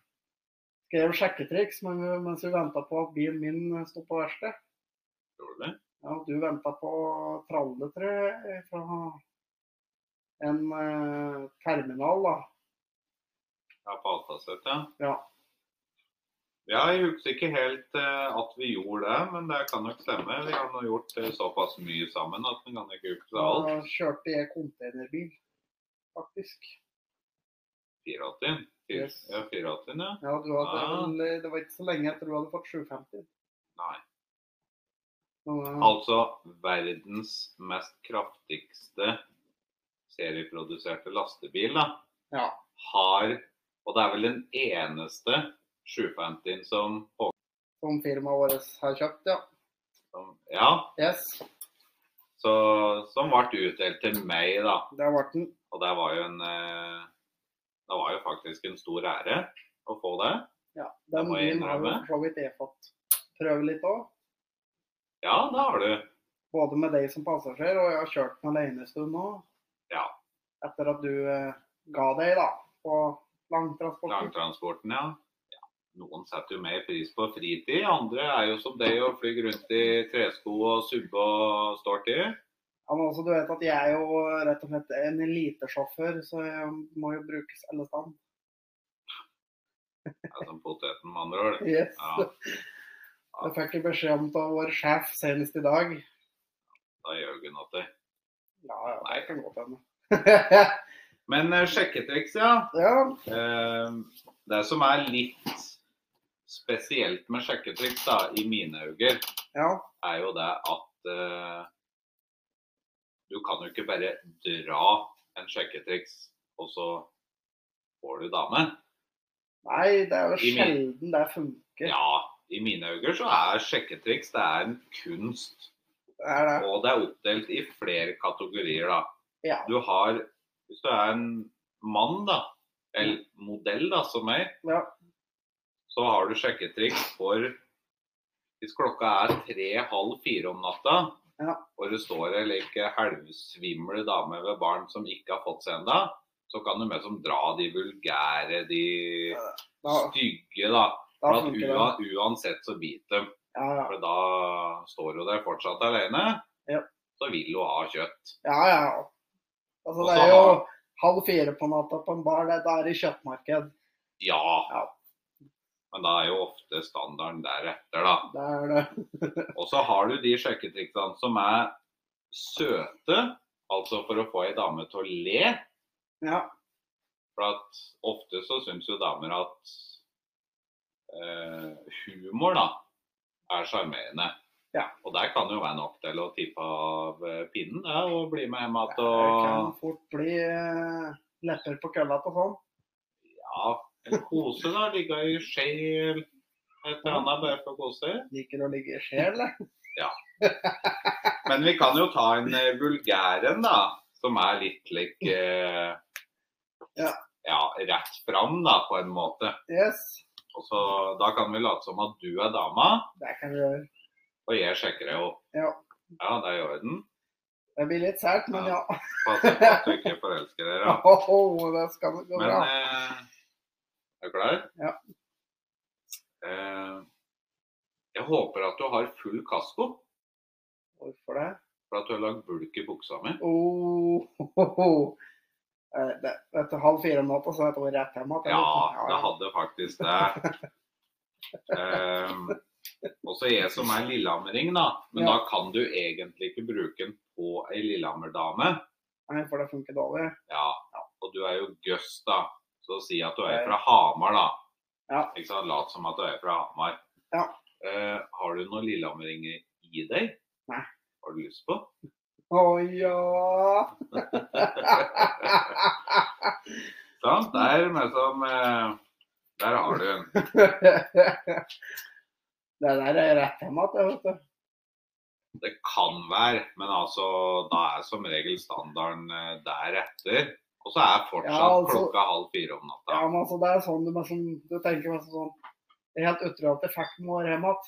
skrev sjekketriks men vi- mens vi venta på at bilen min sto på verksted. Tror du det? Ja, og du venta på tralle, tror jeg, fra en eh, terminal, da. Ja, på Altaset, ja. Ja. Ja, jeg husker ikke helt eh, at vi gjorde det, men det kan nok stemme. Vi har nå gjort eh, såpass mye sammen at vi kan ikke huske alt. Da kjørte jeg containerbil, faktisk. 84. Fy- Yes. Ja, 84, ja. Ja, du hadde, Ah. vel- Det var ikke så lenge etter du hadde fått 750. Nei. Men, eh, Altså verdens mest kraftigste serieproduserte lastebil, da. Ja. Har, og det er vel den eneste 750-en som, Som firmaet vårt har kjøpt, ja. som Ja, Yes, så, som ble utdelt til meg, da. der ble den. Og det var jo en eh, Det var jo faktisk en stor ære å få det. Ja, Det den må jeg bilen har jo innrømme. for så vidt jeg fått prøve litt òg. Ja, det har du. Både med deg som passasjer, og jeg har kjørt den alene en stund nå. Ja. Etter at du eh, ga deg da, på langtransporten. Langtransporten, ja. Ja, Noen setter jo mer pris på fritid, andre er jo som deg og flyr rundt i tresko og subbe og ståltid. Ja, men også, du vet at jeg er jo rett og slett en elitesjåfør, så jeg må jo brukes alle steder. Det er som poteten med andre ord. Yes. Ja, Jeg fikk jo beskjed om det av vår sjef senest i dag. da gjør Gunn at det. Ja, ja, det kan godt hende. Men eh, sjekketriks, ja. ja, Eh, Det som er litt spesielt med sjekketriks, da, i mine øyne, ja. er jo det at eh, du kan jo ikke bare dra en sjekketriks, og så får du dame. Nei, det er jo I min- sjelden det funker. Ja, i mine øyne så er sjekketriks det er en kunst. Det er det. Og det er oppdelt i flere kategorier, da. Ja. Du har Hvis du er en mann, da, eller modell, da, som meg, Ja. så har du sjekketriks for Hvis klokka er tre-halv fire om natta, Ja. og det står ei like halvsvimle dame ved barn som ikke har fått seg ennå, så kan du med som dra de vulgære, de Da, stygge, da. da For at funker det. ua, uansett så biter dem. Ja, ja. For da står hun der fortsatt alene. Ja. Så vil hun ha kjøtt. Ja, ja. Altså, Og det så er jo har- halv fire på natta på en bar. Det, da er det kjøttmarked. Ja. Ja. Men da er jo ofte standarden deretter, da. Det er det. Og så har du de sjekketriksene som er søte, altså for å få ei dame til å le. Ja. For at ofte så syns jo damer at eh, humor, da, er sjarmerende. Ja. Og der kan jo være nok til å tippe av eh, pinnen ja, og bli med hjem Det igjen kan og fort bli eh, lepper på kølla og sånn. ja, eller kose, da. Ligge i skje eller et eller annet bare for å kose. Liker å ligge i skje, eller? Men vi kan jo ta en eh, vulgæren, da. Som er litt lik eh, Ja. ja, rett fram, da, på en måte. Yes. Og så, da kan vi late som at du er dama, Det kan vi gjøre. og jeg sjekker deg opp. Ja. Ja, det er i orden. Det blir litt sært, men ja. Pass på at du ikke forelsker deg, da. Åhå, det skal gå Men bra. eh, er du klar? Ja. Eh, jeg håper at du har full kasko, Hvorfor det? for at du har lagd bulk i buksa mi. Åhå. Eh, det, vet du, halv fire om natta, så er det over rett hjem igjen. Ja, det hadde faktisk det. Ehm, også jeg som er lillehammering, da. Men Ja. da kan du egentlig ikke bruke den på ei lillehammerdame. Nei, for det funker dårlig. Ja. Og du er jo gøss, da. Så si at du Ja. er fra Hamar, da. Ja. Ikke sant? Lat som at du er fra Hamar. Ja. Eh, har du noen lillehammeringer i deg? Nei. Har du lyst på? Å ja. Sant? Der, med som, eh, der har du en. det der er rett hjem igjen, vet du. Det kan være, men altså, da er som regel standarden eh, deretter. Og så er fortsatt Ja, altså- klokka halv fire om natta. Ja, men altså, det er sånn du, liksom, du tenker liksom sånn Det er helt utrolig at jeg fikk den år hjem igjen.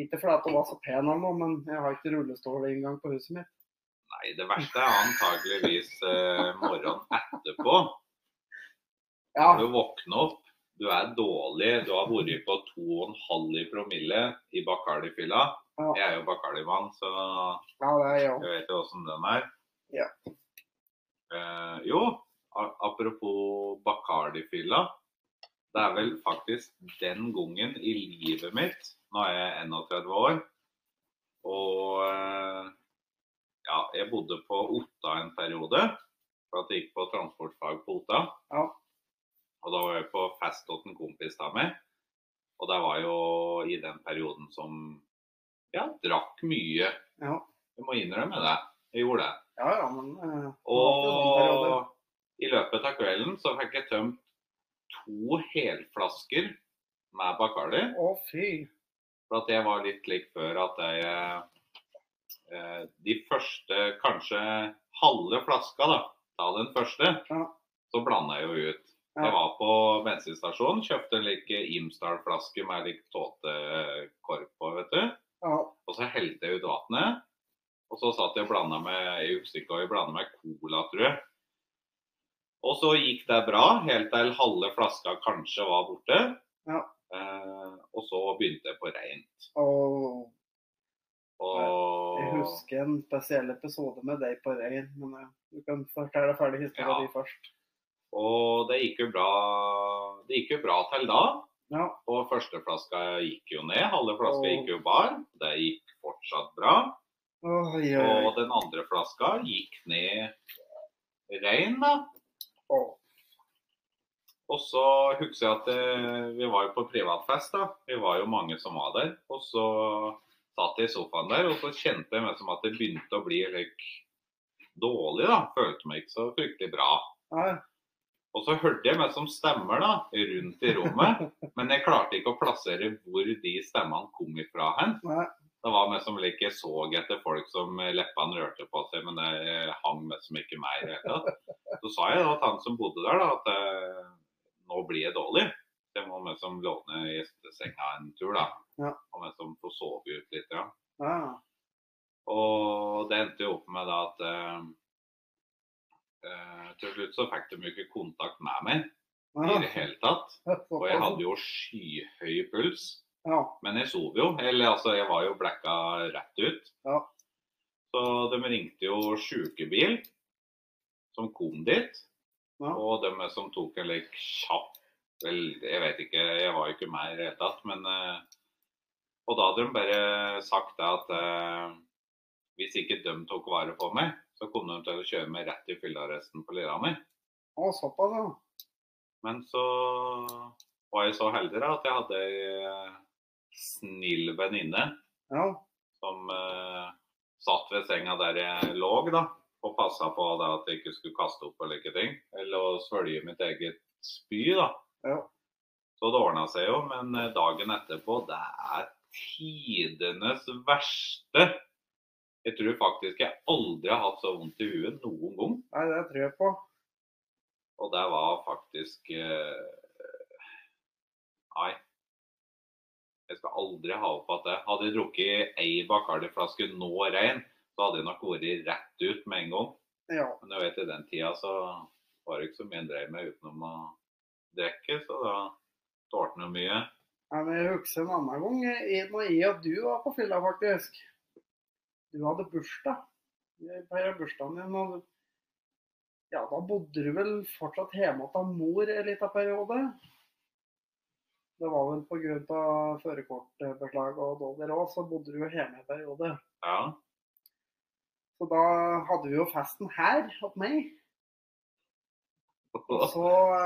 Ikke fordi at hun var så pen eller noe, men jeg har ikke rullestol engang på huset mitt. Nei, det verste er antageligvis eh, morgenen etterpå. Ja, Du våkner opp, du er dårlig, du har vært på 2,5 i promille i Bacardi-fylla. Ja. Jeg er jo Bacardi-mann, så ja det er jeg òg. jeg vet jo åssen den er. Ja. Eh, jo, a- apropos Bacardi-fylla. Det er vel faktisk den gangen i livet mitt, nå er jeg 31 år, og eh, ja, jeg bodde på Otta en periode, for at jeg gikk på transportfag på Otta. Ja. Og da var jeg på fest hos en kompis da med, og det var jo i den perioden som, ja, drakk mye. Ja. Jeg må innrømme det, jeg gjorde det. ja, ja, men eh, Og i løpet av kvelden så fikk jeg tømt to helflasker med Bacardi. Å, fy. For at jeg var litt lik før at jeg eh, De første kanskje halve flaska da, av den første, Ja. så blanda jeg jo ut. Ja. Jeg var på bensinstasjonen, kjøpte en lik Imsdal-flaske med lik tåtekork på, vet du. Ja. Og så helte jeg ut vannet. Og så satt jeg og blanda med jeg husker ikke hva jeg blanda med cola, tror jeg. Og så gikk det bra, helt til halve flaska kanskje var borte. Ja. Eh, og så begynte jeg på reint. Og jeg Og husker en spesiell episode med deg på rein, men eh, du kan fortelle ferdig historien Ja. din først. Og det gikk jo bra Det gikk jo bra til da. Ja. Og første flaska gikk jo ned. Halve flaska Åh. gikk jo bar. Det gikk fortsatt bra. Oi, oi, oi. Og den andre flaska gikk ned rein, da. Åh. Og så husker jeg at eh, vi var jo på privatfest, da. Vi var jo mange som var der. Og så satt jeg i sofaen der, og så kjente jeg meg som at det begynte å bli litt dårlig, da. Følte meg ikke så fryktelig bra. Nei. Og så hørte jeg meg som stemmer da, rundt i rommet, men jeg klarte ikke å plassere hvor de stemmene kom ifra hen. Nei. Det var meg som like jeg så etter folk som eh, leppene rørte på seg, men det eh, hang meg som ikke meg i det hele tatt. Så sa jeg da til han som bodde der da, at eh, nå blir jeg dårlig. Jeg må meg som låne gjestesenga en tur da, Ja. og meg som få sove ut litt. Ja. Ja. Og det endte jo opp med da at eh, eh, til slutt så fikk de jo ikke kontakt med meg i det hele tatt. Og jeg hadde jo skyhøy puls. Ja. Men jeg sov jo. Eller altså, jeg var jo blacka rett ut. Ja. Så de ringte jo sjukebil, som kom dit. Ja. Og de som tok en litt kjapp Vel, jeg vet ikke, jeg var jo ikke med i det hele tatt, men eh, Og da hadde de bare sagt det at eh, hvis ikke de tok vare på meg, så kom de til å kjøre meg rett i fyllearresten på Lillehammer. Å, såpass, ja. Men så var jeg så heldig da, at jeg hadde ei eh, snill venninne Ja. som eh, satt ved senga der jeg lå da, og passa på da, at jeg ikke skulle kaste opp eller ikke ting. Eller å svølge mitt eget spy, da. Ja. Så det ordna seg jo, men eh, dagen etterpå, det er tidenes verste. Jeg tror faktisk jeg aldri har hatt så vondt i huet noen gang. Nei, det tror jeg på. Og det var faktisk eh, Nei. Jeg skal aldri ha opp at det. Hadde jeg drukket ei Bacardi-flaske nå rein, så hadde jeg nok vært rett ut med en gang. Ja. Men jeg vet i den tida så var det ikke så mye en drev med utenom å drikke, så da tålte en mye. Nei, men jeg husker en annen gang eh, når jeg og du var på fylla, faktisk. Du hadde bursdag. Jeg feiret bursdagen din. Og du- ja, da bodde du vel fortsatt hjemme hos mor en liten periode? Det var vel pga. førerkortbeslag og dollar òg, så bodde du jo hjemme en periode. Ja. Så da hadde vi jo festen her hos meg. Og Og så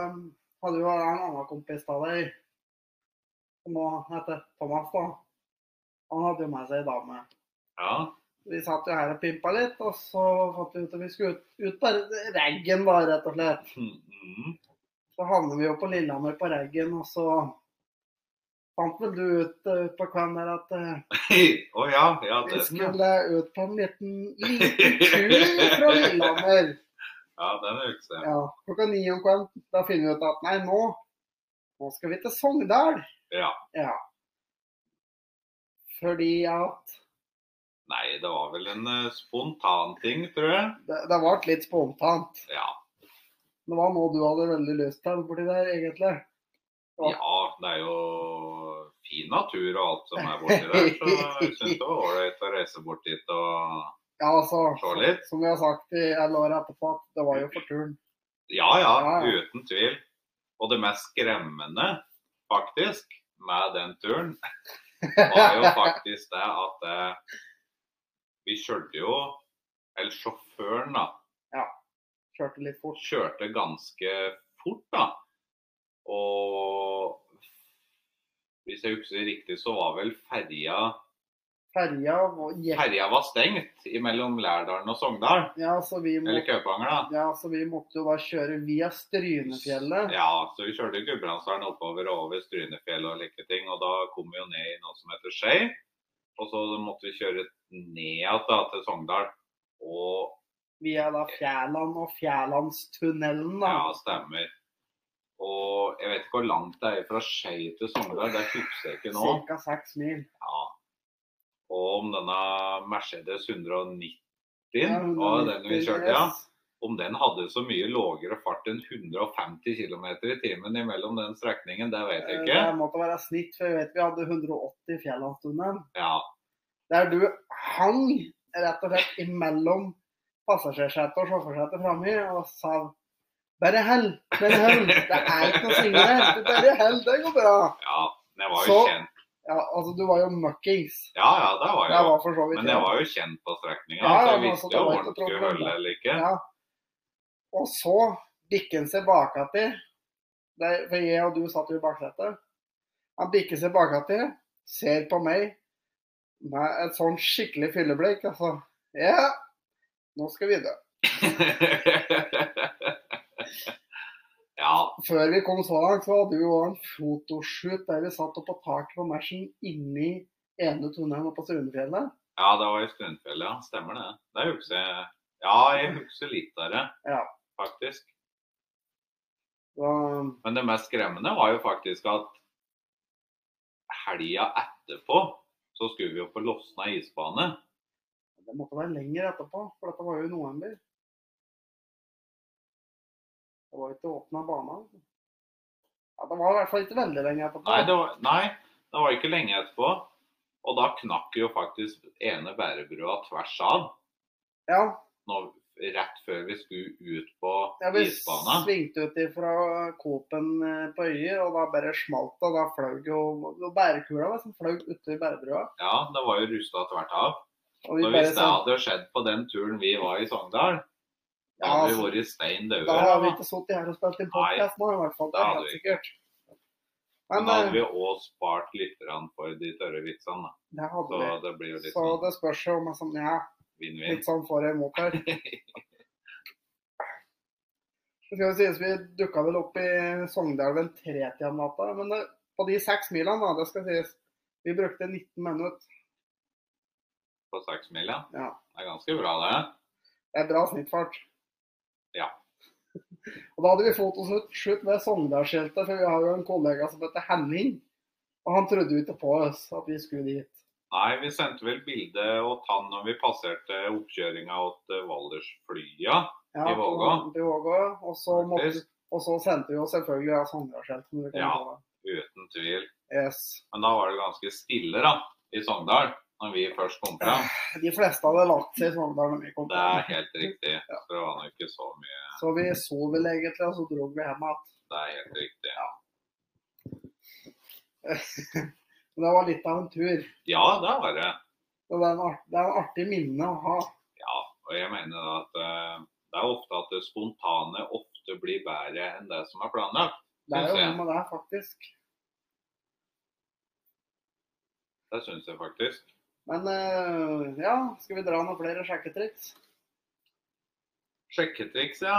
um, hadde jo en annen kompis av deg, som nå heter Thomas, da. Han hadde jo med seg ei dame. ja. Vi satt jo her og pimpa litt, og så fant vi ut at vi skulle ut, ut på Reggen, da, rett og slett. Mhm. Så havner vi jo på Lillehammer på Reggen, og så fant vel du ut eh, på kvelden der at eh, Å ja. Ja, vi den, ja. skulle ut på en liten, liten tur fra Lillehammer. ja den husker jeg. Ja, klokka ni om kvelden. Da finner vi ut at nei, nå, nå skal vi til Sogndal. Ja. ja. Fordi at Nei, det var vel en eh, spontan ting, tror jeg. det, det ble litt spontant. Ja. Det var noe du hadde veldig lyst til borti der, egentlig. Ja. Ja, det er jo fin natur og alt som er borti der, så jeg syns det var ålreit å reise bort dit og Ja, altså, se litt. som vi har sagt i alle år etterpå, at det var jo for turen. Ja ja, Ja, ja. uten tvil. Og det mest skremmende, faktisk, med den turen, var jo faktisk det at eh, vi kjørte jo Eller sjåføren, da. Kjørte litt fort. kjørte ganske fort, da. Og hvis jeg husker riktig, så var vel ferja Ferja var- gikk Ferja var stengt mellom Lærdalen og Sogndal. ja, så vi må, Eller Kaupanger, da. ja, så vi måtte jo da kjøre via Strynefjellet. Ja, så vi kjørte Gudbrandsdalen oppover og over Strynefjellet og like ting. Og da kom vi jo ned i noe som heter Skei. Og så måtte vi kjøre ned igjen da, til Sogndal. Og Via da Fjærland og Fjærlandstunnelen, da. ja, stemmer. Og jeg vet ikke hvor langt det er fra Skei til Sogndal. Det husker jeg ikke nå. Cirka seks mil. Ja. og om denne Mercedes 190 Ja, og ah, den vi kjørte, ja. yes. Om den hadde så mye lågere fart enn 150 km i timen imellom den strekningen, det vet jeg ikke. Eh, Det måtte være snitt, for jeg vet vi hadde 180 i Fjellhavstunnelen. Ja, Der du hang rett og slett imellom passasjersetet og sjåførsetet framme og sa bare hell, men hell. Det er ikke noe svinge der. Bare hell, det går bra. ja. Men jeg var jo Så- kjent. Ja, altså du var jo møkkings. Ja, ja, det var Det jeg jo. var for så vidt Men jeg var jo kjent på strekninga, Ja, ja, så jeg men altså, visste det jo var hvor ikke den skulle tråkk, men- holde eller ikke. Ja. Og så bikker han seg bakati. Der- For jeg og du satt jo i baksetet. Han bikker seg bakati, ser på meg med et sånn skikkelig fylleblikk. Altså Ja, nå skal vi dø. ja, Før vi kom så langt, så hadde vi jo en fotoshoot der vi satt oppå taket på Mersen inni ene tunnelen oppe på Strundefjellet. ja, det var i Strundfjellet, ja. Stemmer det. Det husker jeg. Ja, jeg husker litt av det, Ja. faktisk. Så, Men det mest skremmende var jo faktisk at helga etterpå så skulle vi jo på Losna isbane. det måtte være lenger etterpå, for dette var jo i november. Det var jo ikke åpna bane. altså. Ja, det var i hvert fall ikke veldig lenge etterpå. Nei, det var, nei, det var ikke lenge etterpå. Og da knakk jo faktisk ene bærebrua tvers av Ja, når, rett før vi skulle ut på ja, vi isbana. svingte ut fra Coop-en eh, på Øyer, og da bare smalt det. og Da fløy jo bærekula var som fløy uti bærebrua. Ja, det var jo rusta tvert av. Og Så vi hvis bare sånn, det sa hadde skjedd på den turen vi var i Sogndal, Ja, da hadde vi altså, vært stein da har vi døde. ikke sittet her og spilt inn podkast nå, i hvert fall. Det er det hadde helt vi sikkert. Men Men da hadde eh, vi òg spart litt grann for de tørre vitsene. da. det hadde Så vi. det blir jo litt Så sånn det spørs jo om jeg sånn Ja. vinn-vinn. Litt sånn for og imot her. Det skal jo sies vi dukka vel opp i Sogndalven tretida om natta. Men det, på de seks milene, da, det skal sies, vi brukte 19 minutter. på seksmila. Ja. Det er ganske bra, det. Det er bra snittfart. Ja. Og da hadde vi fotoshoot ved Sogndalsskiltet, for vi har jo en kollega som heter Henning. Og han trodde jo ikke på oss at vi skulle dit. Nei, vi sendte vel bilde åt han når vi passerte oppkjøringa åt eh, Valdresflya. Ja, I Vågå. til Vågå. Og så, måtte, faktisk. og så sendte vi jo selvfølgelig av Sogndalsskiltet. Ja. Uten tvil. Yes. Men da var det ganske stille, da, i Sogndal. Når vi først kom fram. De fleste hadde lagt seg i Sogndal når vi kom. Det er helt riktig. Så det var nå ikke så mye Så vi sov vel egentlig, og så dro vi hjem igjen. Det er helt riktig. Men Det var litt av en tur. Ja, det var det. Og det er en art- det er en artig minne å ha. Ja, og jeg mener da at eh, det er ofte at det spontane ofte blir bedre enn det som er planlagt. Det er jo Synes jeg. noe med det, faktisk. Det syns jeg faktisk. Men eh, ja, skal vi dra noen flere sjekketriks? Sjekketriks, ja.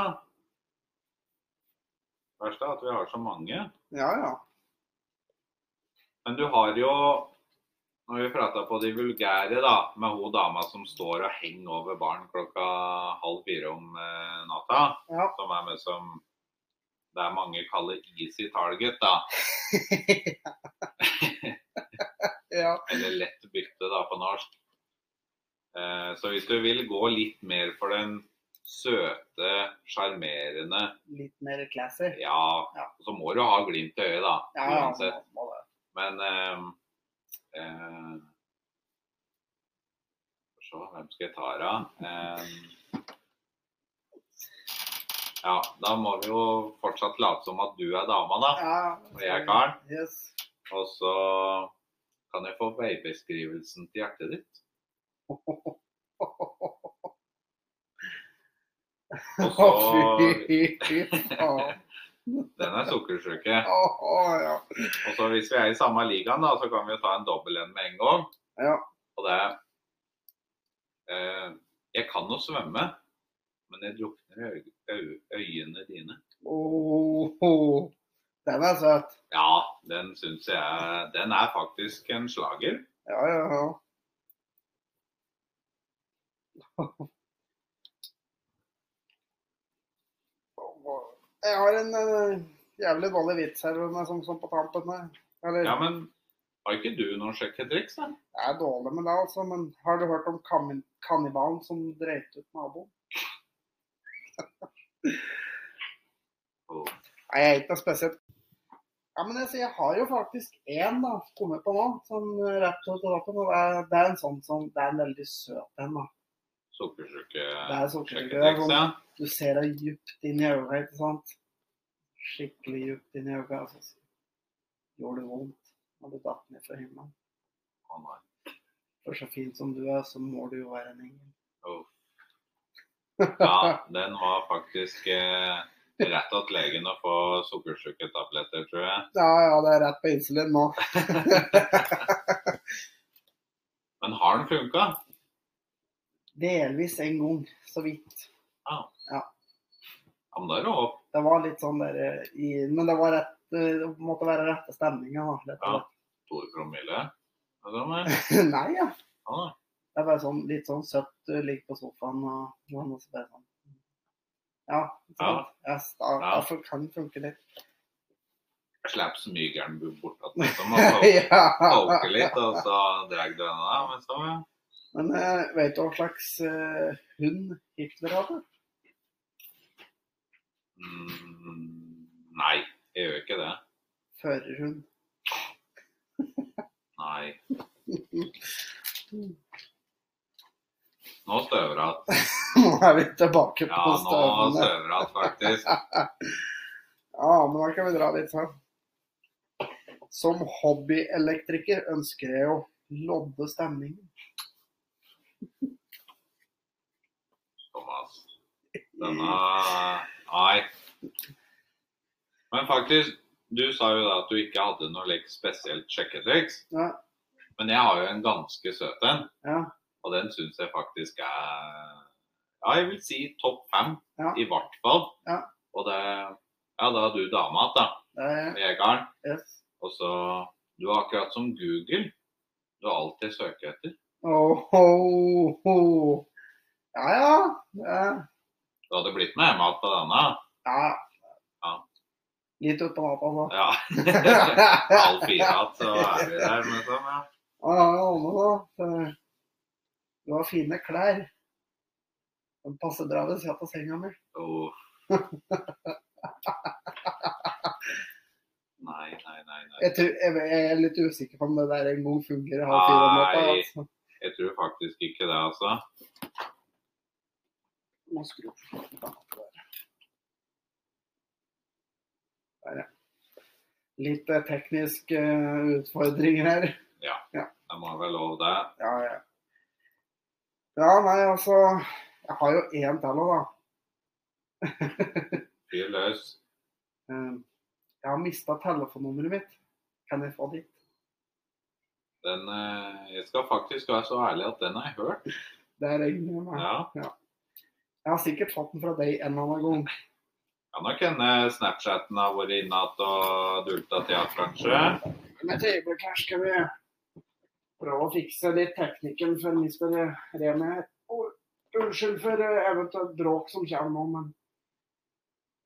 Verst er at vi har så mange. Ja, ja. Men du har jo Når vi prata på de vulgære, da, med hun dama som står og henger over baren klokka halv fire om eh, natta, Ja. som er med som det er mange kaller easy target, da. ja. eller lett bytte da på norsk. Eh, Så hvis du vil gå litt mer for den søte, sjarmerende Litt mer classy. ja, Ja. så må du ha glimt i øyet, da. Ja, ja. Uansett. må- må det. Men eh, eh, Får se, hvem skal jeg ta her, da? Eh, ja, da må vi jo fortsatt late som at du er dama, da. Ja. Og jeg er karen. Yes. Og så kan jeg få veibeskrivelsen til hjertet ditt. Og så Fy faen. Den er sukkersyke. Å, å, ja. Og så hvis vi er i samme ligaen, da, så kan vi jo ta en dobbel en med en gang. Ja. Og det er eh, Jeg kan jo svømme, men jeg drukner i øy, øy, øyene dine. Å, å. Den er søt. Ja, den syns jeg Den er faktisk en slager. Ja, ja, ja. Jeg har en eh, jævlig dårlig vits her med, som, som sånn på tampen her. Eller, Ja, men Har ikke du noen sjekke triks, da? Det er dårlig med det, altså. Men har du hørt om kammi- kannibalen som dreit ut naboen? Oh. Nei, jeg er ikke noe spesielt. Ja, men jeg, sier, jeg har jo faktisk én da, kommet på nå, som rett ut av lappen. Og det er, det er en sånn som Det er en veldig søt en, da. Det er sånn- Sukkersyke-sjekketriks, ja. Du ser det djupt inn i øynene, ikke sant? Skikkelig djupt inn i øynene. Altså. så Gjorde det vondt når du datt ned fra himmelen? Å, nei. For så fin som du er, så må du jo være en engel. Oh. Ja, den var faktisk eh, rett til legen å få sukkersyketabletter, tror jeg. Ja, ja, det er rett på insulin nå. Men har den funka? Delvis en gang, så vidt. Ja, men da er det opp. Det var litt sånn der eh, i Men det var rett, eh, det måtte være rette stemninga, da. Rett, og Ja. To promille. Hva da med? slett. Nei, ja. Ja, da. Det er bare sånn litt sånn søtt. Du ligger på sofaen og noen og så bare sånn Ja. ikke sant? Yes, da, Ja. Derfor kan det funke litt. Jeg Slapp smygeren bort at liksom, og så ja. tolke litt, og så drar du den av. Men så, ja. Men eh, vet du hva slags eh, hund Hitler hadde? mm, nei, jeg gjør ikke det. Førerhund. Nei. Nå støver jeg at. Nå er vi tilbake Ja, på nå støvene. støver jeg at faktisk. Ja, men da kan vi dra litt her. Som hobbyelektriker ønsker jeg å lodde stemningen. Thomas. Denne Nei. Men faktisk, du sa jo da at du ikke hadde noe like, spesielt sjekketriks. Ja, Men jeg har jo en ganske søt en, ja, og den syns jeg faktisk er Ja, jeg vil si topp fem, Ja. i hvert fall. Ja. Og det Ja, da er du dama igjen, da. det er Jeg er yes. Og så Du er akkurat som Google. Du alltid søker etter. Oh, ho, ho. Ja, ja. eh, Du hadde blitt med hjemme igjen på denne. Ja. Ja. Litt ut på natta, da. Ja. Ja, Halv fire igjen, så er vi der. Men sånn, ja. ja, ja, nå da. Eh, Du har fine klær. De passer bra ved siden av senga mi. Åh. Nei, nei, nei. nei. Jeg, tror, jeg, jeg er litt usikker på om det der en gang fungerer. halv fire om natta, Nei. altså. Jeg tror faktisk ikke det, altså. Må skru opp litt annet der. Der, ja. Litt eh, teknisk eh, utfordringer her. Det må være lov, det. Ja, ja. ja, nei, altså Jeg har jo én til òg, da. Fyr løs. Eh, Jeg har mista telefonnummeret mitt. Kan jeg få ditt? Den, eh, jeg skal faktisk være så ærlig at den har jeg hørt. Det regner jeg med. Ja. Jeg har sikkert fått den fra deg en eller annen gang. Kan nok hende Snapchaten har vært inne igjen og dulta til igjen, kanskje. Men et øyeblikk her skal vi prøve å fikse litt teknikken for mister eh, Remi her. Og Unnskyld for eh, eventuelt bråk som kommer nå, men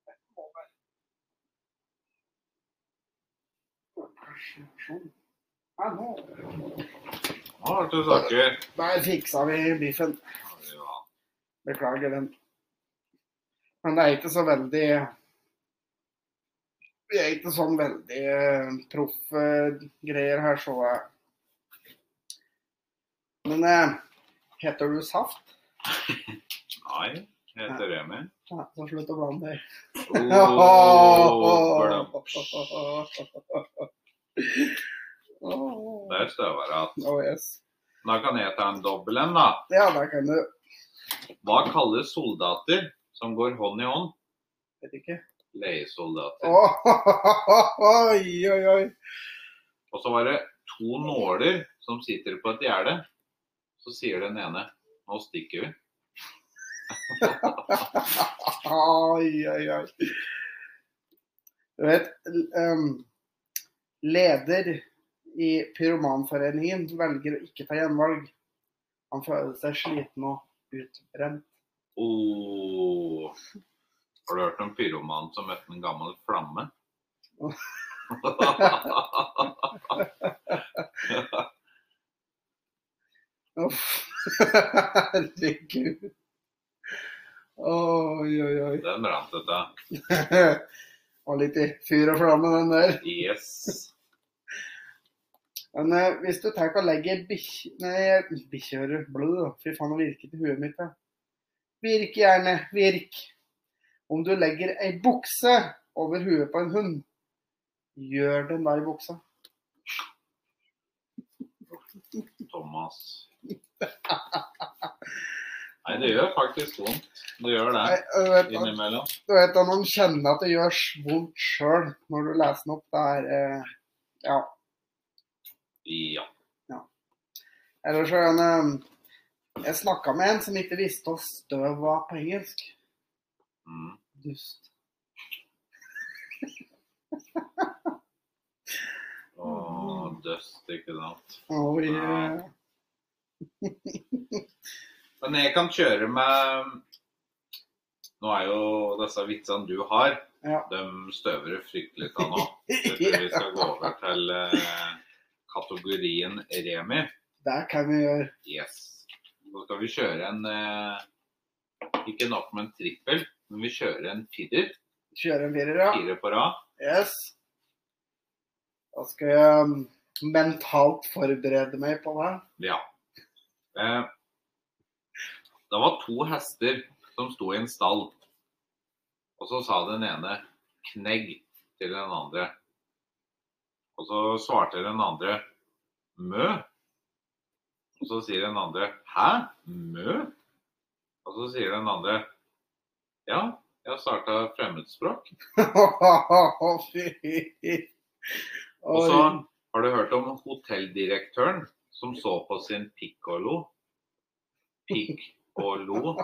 Jeg må bare- Sånn. Nei, nå Nå ble du snakker. Der fiksa vi biffen. Ja. Beklager den. Men det er ikke så veldig Vi er ikke sånn veldig eh, proffe greier her, så jeg. Men eh, heter du Saft? Nei, jeg heter Remi. Ja, så slutt å blande deg. Oh, blum. Åh. Der støver jeg igjen. Oh, yes. Da kan jeg ta en dobbel en, da. Ja, der kan du Hva kalles soldater som går hånd i hånd? Vet ikke. Leiesoldater. Åh, Oi, oi, oi. Og så var det to nåler som sitter på et gjerde. Så sier den ene nå stikker vi. Ai, ai, ai. Du vet, l- em, leder i Pyromanforeningen velger å ikke ta gjenvalg. Han føler seg sliten og utbrent. Oh. Åh. Har du hørt om pyromanen som møtte en gammel flamme? Uff. Herregud. Oi, oi, oi. Den brant ut, da. Var litt i fyr og flamme, den der. Yes. Men eh, hvis du tenker å legge bikkj... Nei, bikkjeøret blød. Fy faen, det virker til huet mitt. Ja. Virk gjerne. Virk. Om du legger ei bukse over huet på en hund, gjør den da i buksa. Thomas. Nei, det gjør faktisk vondt. Det gjør det Nei, du vet, at- innimellom. du vet at man kjenner at det gjør vondt sjøl når du leser den opp. Det er eh, Ja. Ja. Eller så er den eh, Jeg snakka med en som ikke visste hva støv var på engelsk. Mm. Dust. Og dust, ikke sant. Oh, yeah. Men jeg kan kjøre med Nå er jo disse vitsene du har, Ja. de støver det fryktelig av nå. Jeg tror vi skal gå over til eh, kategorien Remi. Det kan vi gjøre. Yes. Nå skal vi kjøre en eh, Ikke nok med en trippel, men vi kjører en firer. Kjøre en firer, ja. Fire på rad. Yes. Da skal jeg um, mentalt forberede meg på det. Ja. Eh, det var to hester som sto i en stall. Og så sa den ene 'knegg' til den andre. Og så svarte den andre 'mø'. Og så sier den andre 'hæ? Mø?' Og så sier den andre 'ja, jeg har starta fremmedspråk'. Og så Oi. har du hørt om hotelldirektøren som så på sin pikkolo. Pikkolo.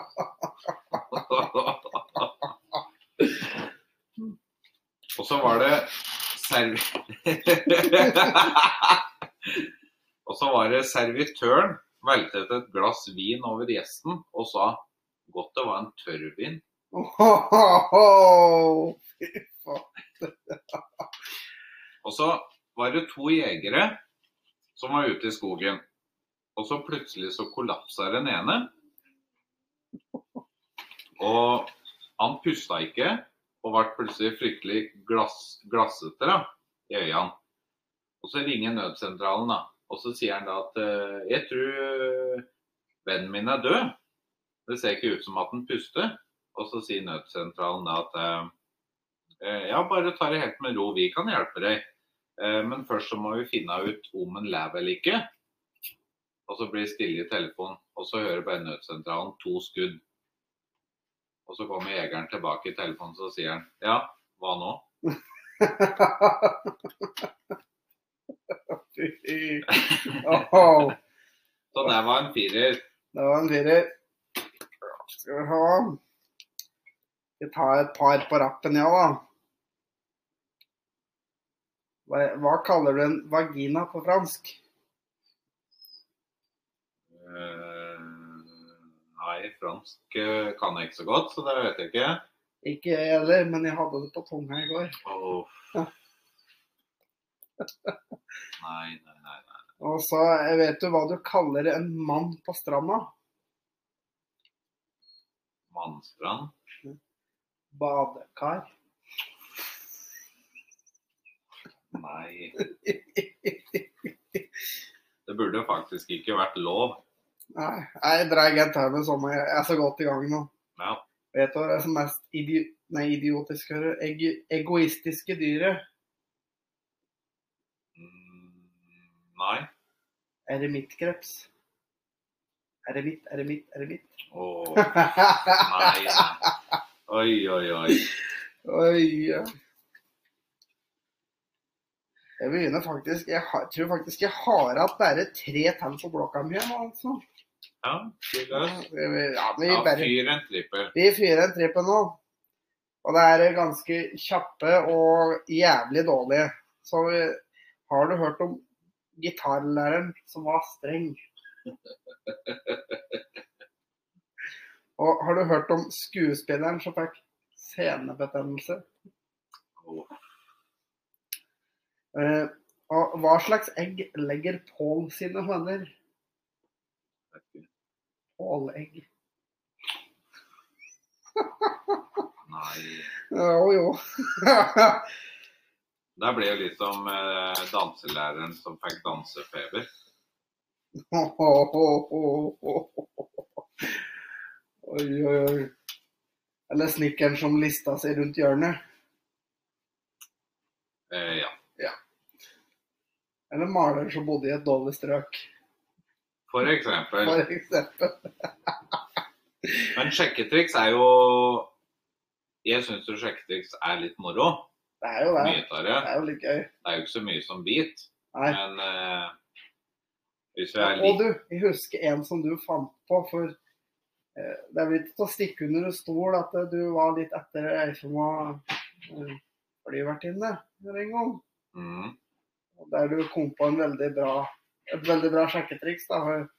Og så var det serv... Og så var det servitøren veltet et glass vin over gjesten og sa godt det var en tørrvin. Og så var det to jegere som var ute i skogen. Og så plutselig så kollapsa den ene. Og han pusta ikke, og ble plutselig fryktelig glass, glassete da, i øynene. Og så ringer nødsentralen, da. Og så sier han da at eh, jeg tror eh, vennen min er død. Det ser ikke ut som at han puster. Og så sier nødsentralen da at eh, ja, bare ta det helt med ro, vi kan hjelpe deg. Eh, Men først så må vi finne ut om en lever eller ikke. Og så blir det stille i telefonen, og så hører bare nødsentralen to skudd. Og så kommer jegeren tilbake i telefonen, så sier han ja, hva nå? Fy. Åhå. Så der var en firer. Det var en firer. Skal vi se Vi tar et par på rappen, ja da. Hva, hva kaller du en vagina på fransk? Eh, Nei, fransk eh, kan jeg ikke så godt, så det vet jeg ikke. Ikke jeg heller, men jeg hadde det på tunga i går. Åh. Nei, nei, nei. nei. Og så jeg vet du hva du kaller en mann på stranda? Mannstrand. Badekar. Nei. Det burde faktisk ikke vært lov. Nei, jeg dreier en tau med sommer. Jeg er så godt i gang nå. Ja. Vet du hva det er som mest idi nei, idiotisk hører? Eg egoistiske dyret? Mm, Nei. Eremittgreps. Eremitt, eremitt, eremitt. Åh, oi, nei. nei. Oi, oi, oi. ja. Jeg begynner faktisk Jeg har, tror faktisk jeg har hatt bare tre tall på blokka mi nå, altså. Ja, fyr Ja, løs. vi- ja, vi Ja, bare fyr en trippel. Vi fyrer en trippel nå. Og det er ganske kjappe og jævlig dårlige. Så vi, har du hørt om gitarlæreren som var streng? Og har du hørt om skuespilleren som fikk senebetennelse? Åh, Eh, og hva slags egg legger Pål sine høner? Pålegg. Nei. Jo, jo. Det ble jo litt som eh, danselæreren som fikk dansefeber. Oi, oi, oi. Eller snekkeren som lista seg rundt hjørnet. Eh, ja. Eller maleren som bodde i et dårlig strøk, For eksempel. for eksempel. Men sjekketriks er jo Jeg syns jo sjekketriks er litt moro. Det er jo det. Mye Det tare. er jo litt gøy. Det er jo ikke så mye som bit. Nei. Men eh, hvis vi Og er litt du, jeg husker en som du fant på, for eh, det er vel ikke til å stikke under en stol at eh, du var litt etter ei som var eh, flyvertinne her en gang. mm, Og Der du kom på en veldig bra, et veldig bra sjekketriks. da. for,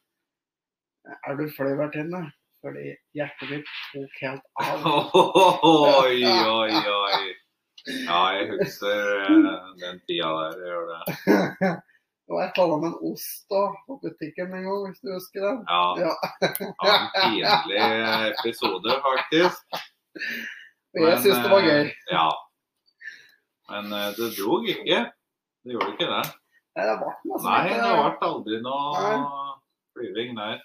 eh, Er du flyvertinne? Fordi hjertet mitt tok helt av. Oi, oi, oi. Ja, jeg husker eh, den tida der. Jeg gjør det. Det var et eller annet med en ost da, på butikken en gang, hvis du husker den. Ja. Ja. ja en pinlig episode, faktisk. Og jeg syns det var eh, gøy. Ja. Men eh, det drog ikke. Det gjorde ikke det. Nei, det ble nesten Nei, ikke det ble aldri noe Nei. flyving der.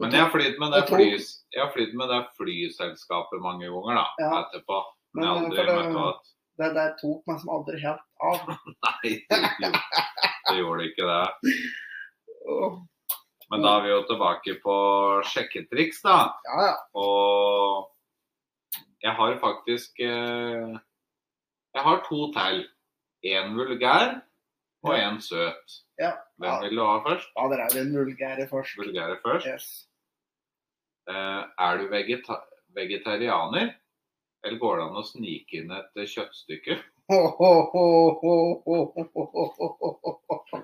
Men jeg har flydd med det Jeg tror- flys, jeg har flydd med det flyselskapet mange ganger da, Ja. etterpå. Men jeg har Men, eh, aldri for møtt det, det at der tok meg som aldri helt av. Nei, det gjorde- det gjorde ikke det. Åh, Men da er vi jo tilbake på sjekketriks, da. Ja, ja. Og jeg har faktisk eh, Jeg har to til. Én vulgær og Ja. én søt. Ja. Hvem vil du ha først? Ja, der er vi en vulgære først. Vulgære først. Yes. Eh, er du vegeta vegetarianer, eller går det an å snike inn et eh, kjøttstykke? Ho, ho, ho, ho, ho, ho, ho, ho, ho, ho, ho.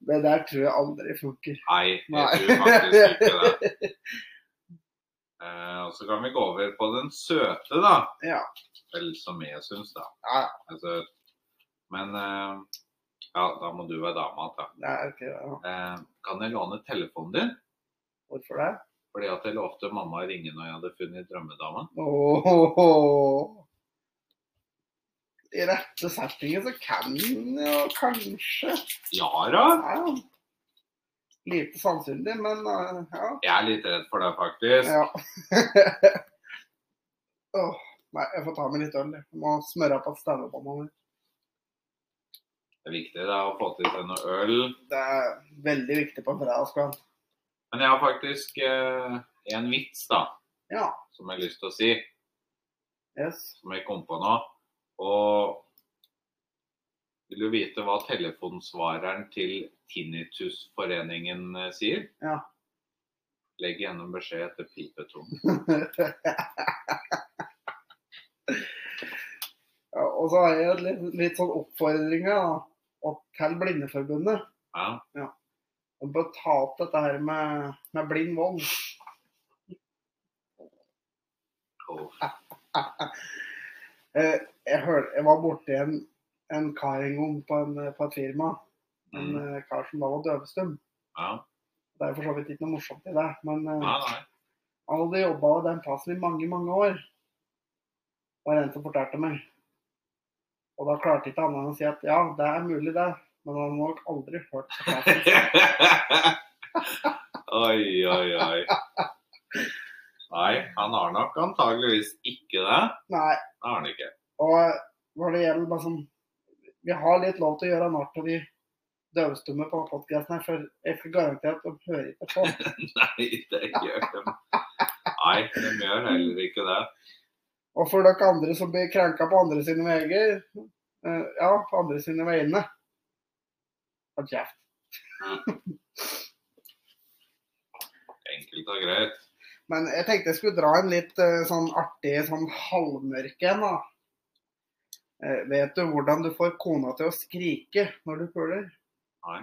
Det der tror jeg aldri funker. Nei, Nei. jeg tror faktisk ikke det. Eh, og så kan vi gå over på den søte, da. Ja. Vel, som jeg syns, da. Ja, Altså, men eh, ja, da må du være dama. Da. det er ikke det. Eh, kan jeg låne telefonen din? Hvorfor det? Fordi at jeg lovte mamma å ringe når jeg hadde funnet drømmedama. Ho, ho, ho. I rette settingen så kan den jo kanskje Ja da! ja. Lite sannsynlig, men eh, ja. Jeg er litt redd for det, faktisk. Ja. Åh, nei, jeg får ta meg litt øl. jeg. Jeg må smøre på stemmebåndene. Det er viktig det er å få til seg noe øl. Det er veldig viktig på en fredagskveld. Men jeg har faktisk eh, en vits, da, Ja. som jeg har lyst til å si. Yes. Som jeg kom på nå. Og vil du vite hva telefonsvareren til Tinnitusforeningen eh, sier? Ja. Legg gjennom beskjed etter pipetonen. Ja, og så har jeg litt, litt sånn oppfordringer da, opp til Blindeforbundet. Ja. Og bør ta opp dette her med, med blind vold. og- Eh, jeg, hør, jeg var borti en, en kar en gang på, en, på et firma. En Mm. eh, kar som da var døvestum. Ja. Det er for så vidt ikke noe morsomt i det, men eh, Nei, nei. Han hadde jobba ved den plassen i mange, mange år. Var det en som fortalte meg. Og da klarte ikke annet enn å si at ja, det er mulig det, men han har nok aldri hørt fortalt. oi, oi, oi. Nei, han har nok antageligvis ikke det. Nei, Det har han ikke. og eh, når det gjelder liksom Vi har litt lov til å gjøre narr av de døvstumme på podkasten her, for jeg skal garantere at de hører ikke på. sånn. Nei, det gjør de. Nei, de gjør heller ikke det. Og for dere andre som blir krenka på andre sine veier eh, Ja, på andre sine vegne. Hold kjeft. Enkelt og greit. Men jeg tenkte jeg skulle dra en litt eh, sånn artig sånn halvmørk en, da. Eh, vet du hvordan du får kona til å skrike når du puler? Nei.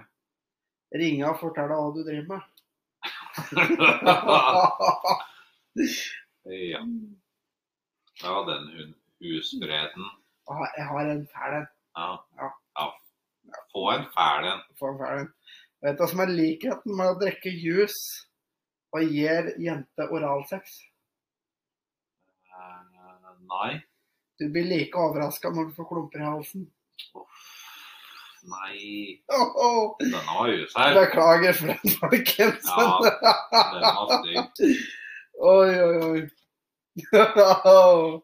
Ringe og fortelle hva du driver med. ja. ja, den hun husfreden Ah, Jeg har- Jeg har en fæl en. Ja. Ja. ja. Få en fæl en. Få en fæl en. Vet du hva som er likheten med å drikke juice og gir jente oralsex? Eh, Nei. Du blir like overraska når du får klumper i halsen. Uff. Nei. Åh, åh. Denne var usær. Beklager for den, folkens. Ja, Den var stygg. Oi, oi, oi. Å,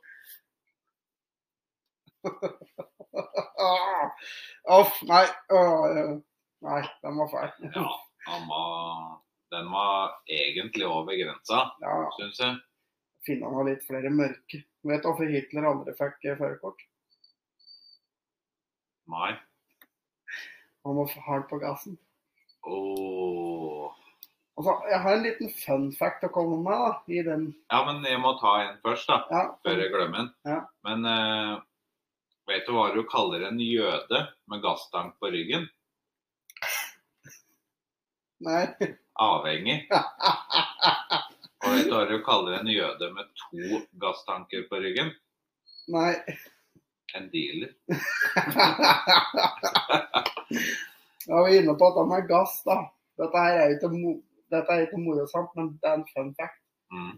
Uff, nei. Å, ja. nei, den var feil. Ja, han var, den var egentlig over grensa, Ja, syns jeg. finne han litt flere mørke. Vet du hvorfor Hitler aldri fikk eh, førerkort? Nei. Han var for hard på gassen. Åh. Altså, jeg har en liten fun fact å komme med da, i den. Ja, men jeg må ta en først, da. Ja, Før jeg glemmer den. Ja. Men eh, vet du hva du kaller en jøde med gasstank på ryggen? nei. Avhengig. Og vet du hva du kaller en jøde med to gasstanker på ryggen? Nei. En dealer. Da var vi inne på at han er gass, da. Dette her er jo ikke, mo dette er ikke morosamt, men det er en fun fact. Mm.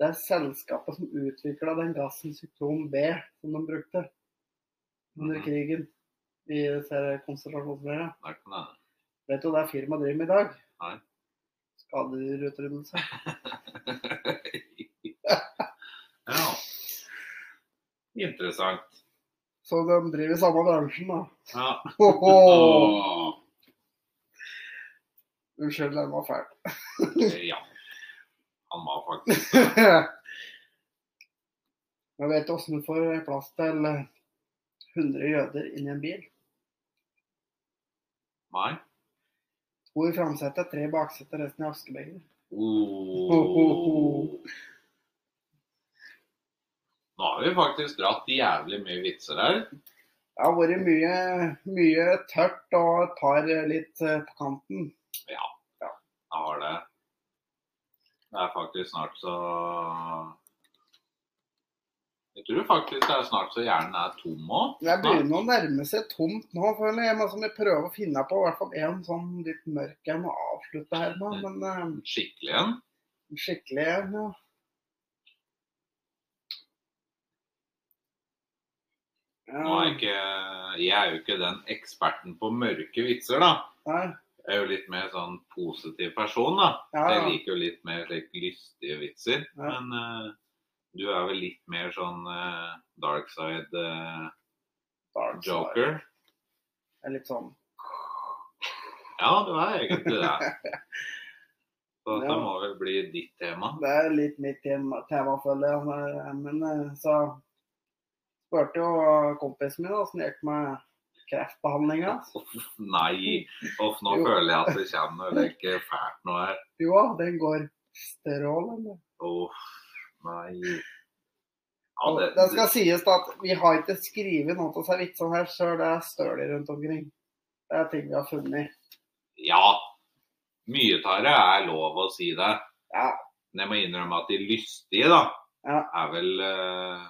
Det er selskapet som utvikla den gassen sykdom B som de brukte under Mhm. krigen i ser- konsentrasjonsleirer. Der kan det hende. Vet du hva det firmaet driver med i dag? Nei. Skadedyrutrydelse. Ja. Interessant. Så de driver i samme bransjen, da. Ja. Hoho! Åh. Unnskyld, den var fæl. Ja. Han var faktisk Men vet du åssen du får plass til 100 jøder inni en bil? meg. To i framsetet, tre i baksetet, resten i askebeger. Åh. Oh. Nå har vi faktisk dratt jævlig mye vitser her. Det har vært mye, mye tørt og et par litt eh, på kanten. Jeg har det. Det er faktisk snart så Jeg tror faktisk det er snart så hjernen er tom òg. Jeg begynner å nærme seg tomt nå, føler jeg. Men som jeg prøver å finne på i hvert fall en sånn litt mørk en å avslutte her med. Men eh, Skikkelig en. skikkelig en, ja. Nå er jeg Ja, ikke Jeg er jo ikke den eksperten på mørke vitser, da. nei, Jeg er jo litt mer sånn positiv person, da. ja, Jeg liker jo litt mer like, lystige vitser. Ja. Men eh, du er vel litt mer sånn eh, dark side eh, dark side. joker. Det er Litt sånn. Ja, du er egentlig det. Så dette Ja. må vel bli ditt tema. Det er litt mitt tema, tema, føler jeg. men- Men eh, så spurte jo kompisen min åssen det gikk med kreftbehandlinga. Nei, uff, nå Jo. føler jeg at det kommer noe like fælt nå her. Jo da, den går strålende. Uff, nei. Ja, Og det, det skal sies da at vi har ikke skrevet noe av disse vitsene her, så det er stølig rundt omkring. Det er ting vi har funnet. ja. Mye av det er lov å si det. Ja, Men jeg må innrømme at de lystige, da, Ja. er vel eh,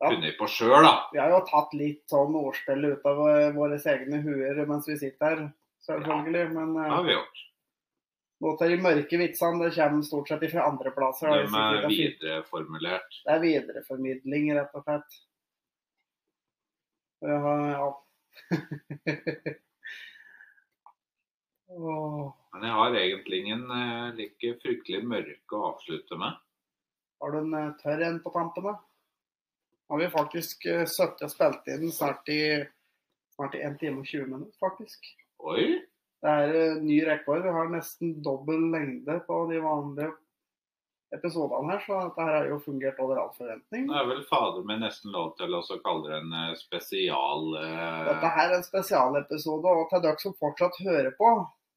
Ja. funnet på sjøl, da. vi har jo tatt litt sånn ordspill ut av eh, våre egne huer mens vi sitter her, selvfølgelig. Men Det har eh, vi gjort. noen av de mørke vitsene det kommer stort sett fra andre plasser. da, hvis De ikke vi er kan finne- videreformulert. Det er videreformidling, rett og slett. Og jeg har- ja. Åh, Men jeg har egentlig ingen eh, like fryktelig mørke å avslutte med. har du en eh, tørr en på tampene? Nå har vi faktisk eh, sittet og spilt inn snart i, snart i 1 time og 20 minutter, faktisk. Oi! Det er eh, ny rekord. Vi har nesten dobbel lengde på de vanlige episodene her, så dette her har jo fungert over all forventning. Det er vel fader meg nesten lov til å også kalle det en eh, spesial eh, Dette her er en spesialepisode, og til dere som fortsatt hører på,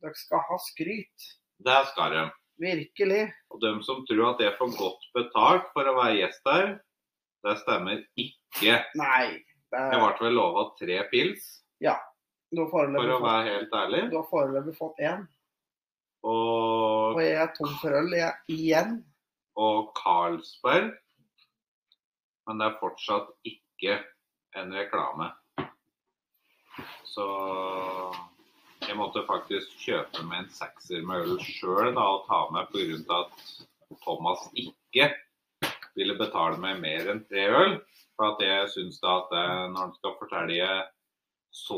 dere skal ha skryt. Der skal de. Virkelig. Og de som tror at jeg får godt betalt for å være gjest her, det stemmer ikke. Nei. Det Jeg er, ble vel lova tre pils, du, har for foreløpig å fått, være helt ærlig. du har foreløpig fått én, Og og jeg er tom for øl jeg, igjen. og Carlsberg. Men det er fortsatt ikke ikke en reklame. Så jeg måtte faktisk kjøpe meg en sekser med øl sjøl og ta med pga. at Thomas ikke ville betale meg mer enn tre øl. For at jeg syns da at det, når han skal fortelle så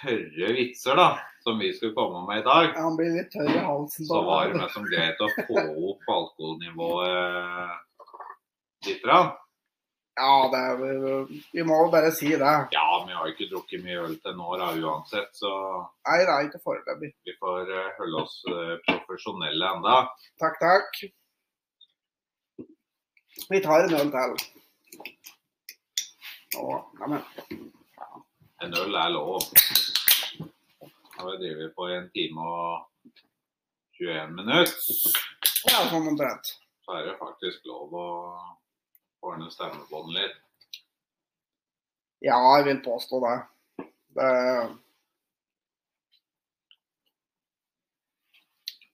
tørre vitser da, som vi skulle komme med i dag, Ja, han blir litt tørr i halsen. så var det meg som greit å få opp alkoholnivået litt. Rann. Ja, det er, vi, vi må jo bare si det. Ja, men jeg har jo ikke drukket mye øl til nå da, uansett, så Nei, det er ikke foreløpig. vi får eh, holde oss eh, profesjonelle enda. Takk, takk. Vi tar en øl til. Å, neimen. En øl er lov. Nå har vi drevet på i en time og 21 minutter. Ja, sånn omtrent. Så er det faktisk lov å ordne stemmebånd litt. Ja, jeg vil påstå det. det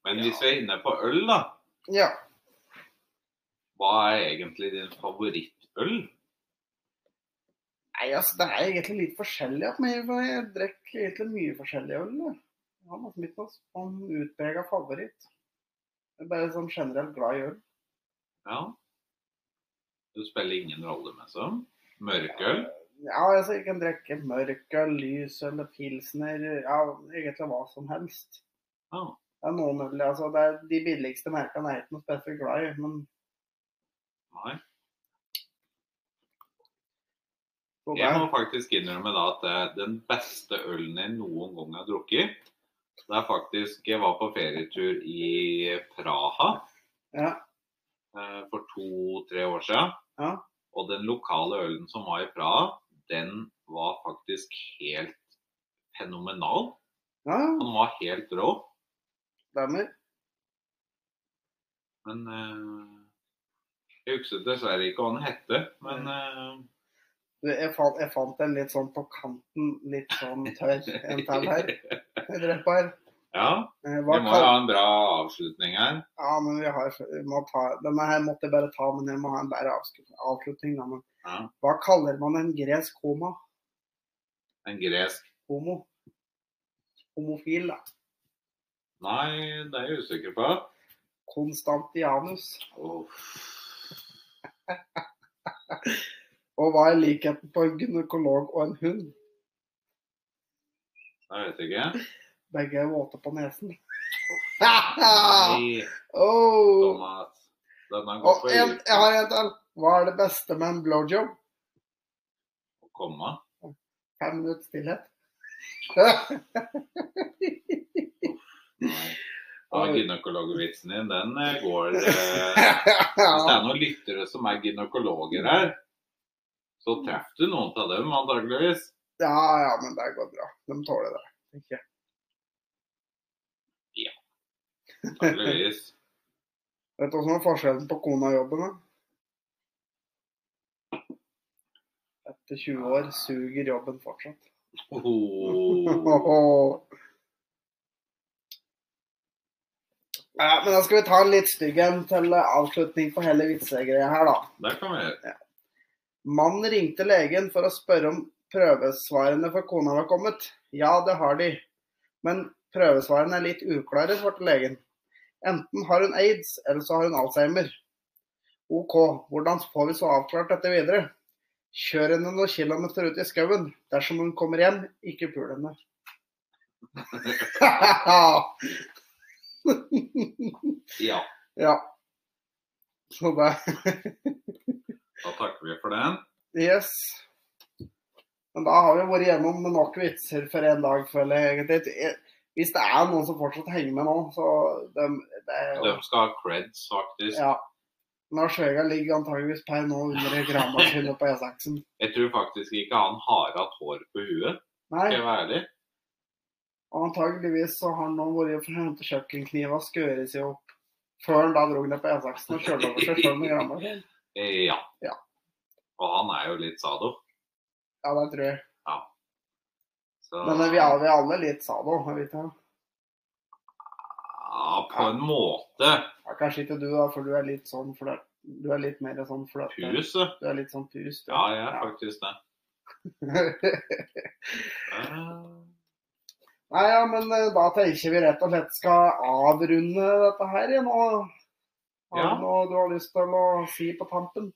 Men hvis vi er inne på øl, da. ja. Hva er egentlig din favorittøl? Nei, altså, det er egentlig litt forskjellig. At jeg, jeg drikker egentlig mye forskjellig øl. jeg. Jeg har liksom ikke noen sånn utprega favoritt. Jeg er bare sånn generelt glad i øl. Ja. Det spiller ingen rolle, med som. Mørkøl? Ja, altså, jeg kan drikke mørka, lys eller pilsner, ja, egentlig hva som helst. Ja. Det er noen øl, altså, det er de billigste merkene jeg er ikke noe spesielt glad i, men Nei. så det Jeg må faktisk innrømme da at eh, den beste ølen jeg noen gang har drukket, det er faktisk Jeg var på ferietur i Praha Ja. eh, for to-tre år siden. Ja. Og den lokale ølen som var i Praha, den var faktisk helt fenomenal. Ja, Den var helt rå. stemmer. Men eh, jeg husker dessverre ikke hva den hette. Men eh, Du, Jeg fant, jeg fant en litt sånn på kanten, litt sånn tørr en til her. eh, Jeg dropper her. Ja, Eh, vi Hva må jo kall... ha en bra avslutning her. Ja, men vi har, vi må ta, denne her måtte jeg bare ta, men jeg må ha en bedre avslut- avslutning. Da. Men, Ja. hva kaller man en gresk homo? En gresk homo? Homofil, da. Nei, det er jeg usikker på. Konstantianus. Uff. Og hva er likheten på en gynekolog og en hund? Da vet jeg ikke. Begge er våte på nesen. Nei, Oh. Thomas. Denne går Ah. Og for en, jeg dypt har en til. Hva er det beste med en blowjob? å komme. Fem minutter stillhet. Nei. Ja, Oi. Gynekologvitsen din, den eh, går eh, Hvis det er noen lyttere som er gynekologer her, så treffer du noen av dem antageligvis. Ja, ja, men det går bra. De tåler det. Ikke? Antageligvis. Vet du hva som er forskjellen på kona og jobben? da? Etter 20 år suger jobben fortsatt. Oh. Ja, men da skal vi ta en litt stygg en til avslutning på hele vitsegreia her, da. Der kan vi gjøre. Mannen ringte legen for å spørre om prøvesvarene for kona var kommet. Ja, det har de. Men prøvesvarene er litt uklare, svarte legen. Enten har hun aids, eller så har hun alzheimer. OK, hvordan får vi så avklart dette videre? Kjør henne noen kilometer ut i skauen. Dersom hun kommer hjem, ikke pul henne. Ja, ja. Så det da takker vi for den. Yes. Men da har vi vært gjennom nok vitser for en dag, føler jeg egentlig. Jeg- Hvis det er noen som fortsatt henger med nå, så dem- det er De jo skal ha creds, faktisk. Ja. Lars Vegard ligger antageligvis per nå under en gravemaskin på E6-en. Jeg tror faktisk ikke han har hatt hår på huet, skal Nei, jeg være ærlig. og antageligvis så har han nå vært for å hente kjøkkenkniv og skåret seg opp. Før han da dro ned på E6-en og kjørte over seg sjøl med gravemaskin. Eh, Ja. Ja. Og han er jo litt sado. Ja, det tror jeg. Så, Men eh, vi er, vi er alle litt sado, er vi ikke? Ja, på en måte. Ja, kanskje ikke du, da, for du er litt sånn flørt. Du er litt mer sånn flørt. Huset. Du er litt sånn pust. Ja, jeg er faktisk det. Eh, Nei, ja, men eh, da tenker vi rett og slett skal avrunde dette her igjen. Og har Ja. du noe du har lyst til å si på tampen?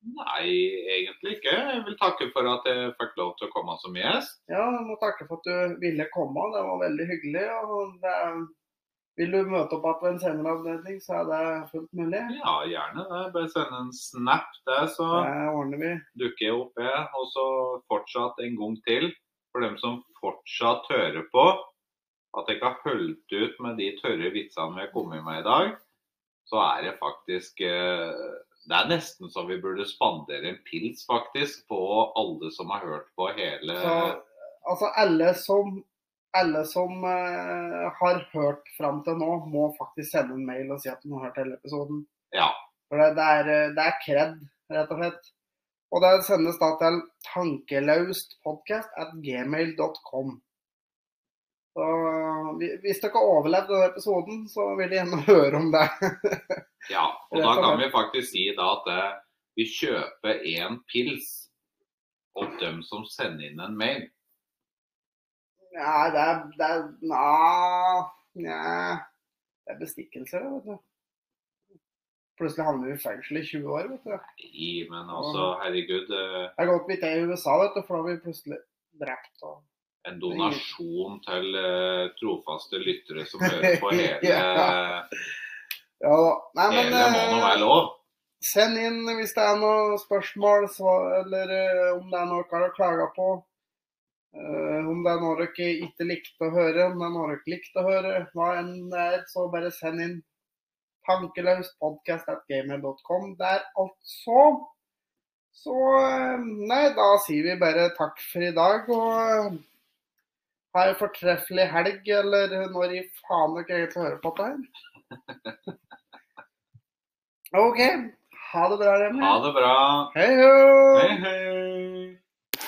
Nei, egentlig ikke. Jeg vil takke for at jeg fikk lov til å komme som gjest. Ja, jeg må takke for at du ville komme. Det var veldig hyggelig. og det er... Vil du møte opp igjen ved en senere anledning, så er det fullt mulig. Ja, gjerne det. Bare sende en snap der, så Det ordner vi. dukker jeg opp, jeg. Og så fortsatt en gang til. For dem som fortsatt hører på, at jeg ikke har holdt ut med de tørre vitsene vi har kommet med i dag, så er det faktisk eh, Det er nesten så vi burde spandere en pils, faktisk, på alle som har hørt på hele Så, altså alle som, alle som eh, har hørt fram til nå, må faktisk sende en mail og si at de har hørt hele episoden. Ja. For det, det er, eh, det er kred, rett og slett. Og det sendes da til tankelaustpodcast.gmail.com. Så eh, vi- hvis dere har overlevd denne episoden, så vil jeg gjerne høre om det. Ja, og Rett da og kan slett. vi faktisk si da at eh, vi kjøper en pils og dem som sender inn en mail. Nei, det er, det er Nja nja. Det er bestikkelser, det, vet du. Plutselig havner vi i fengsel i 20 år, vet du. I, men altså, herregud eh, Det er godt vi ikke er i USA, vet du, for da blir vi plutselig drept og En donasjon til eh, trofaste lyttere som hører på hele Ja. Ja da. Nei, men Hele må nå være eh, lov. send inn hvis det er noen spørsmål, svar, eller eh, om det er noe dere har klaga på. Eh, om det er noe dere ikke likte å høre, om det er noe dere likte å høre, hva enn det er, så bare send inn tankeløspodkast.gamer.com der, altså. Så eh, Nei, da sier vi bare takk for i dag, og eh, ha en fortreffelig helg, eller når i faen dere egentlig hører på dette her. OK. Ha det bra, Remi. eh, Ha det bra. Hei ho! Hei, hei.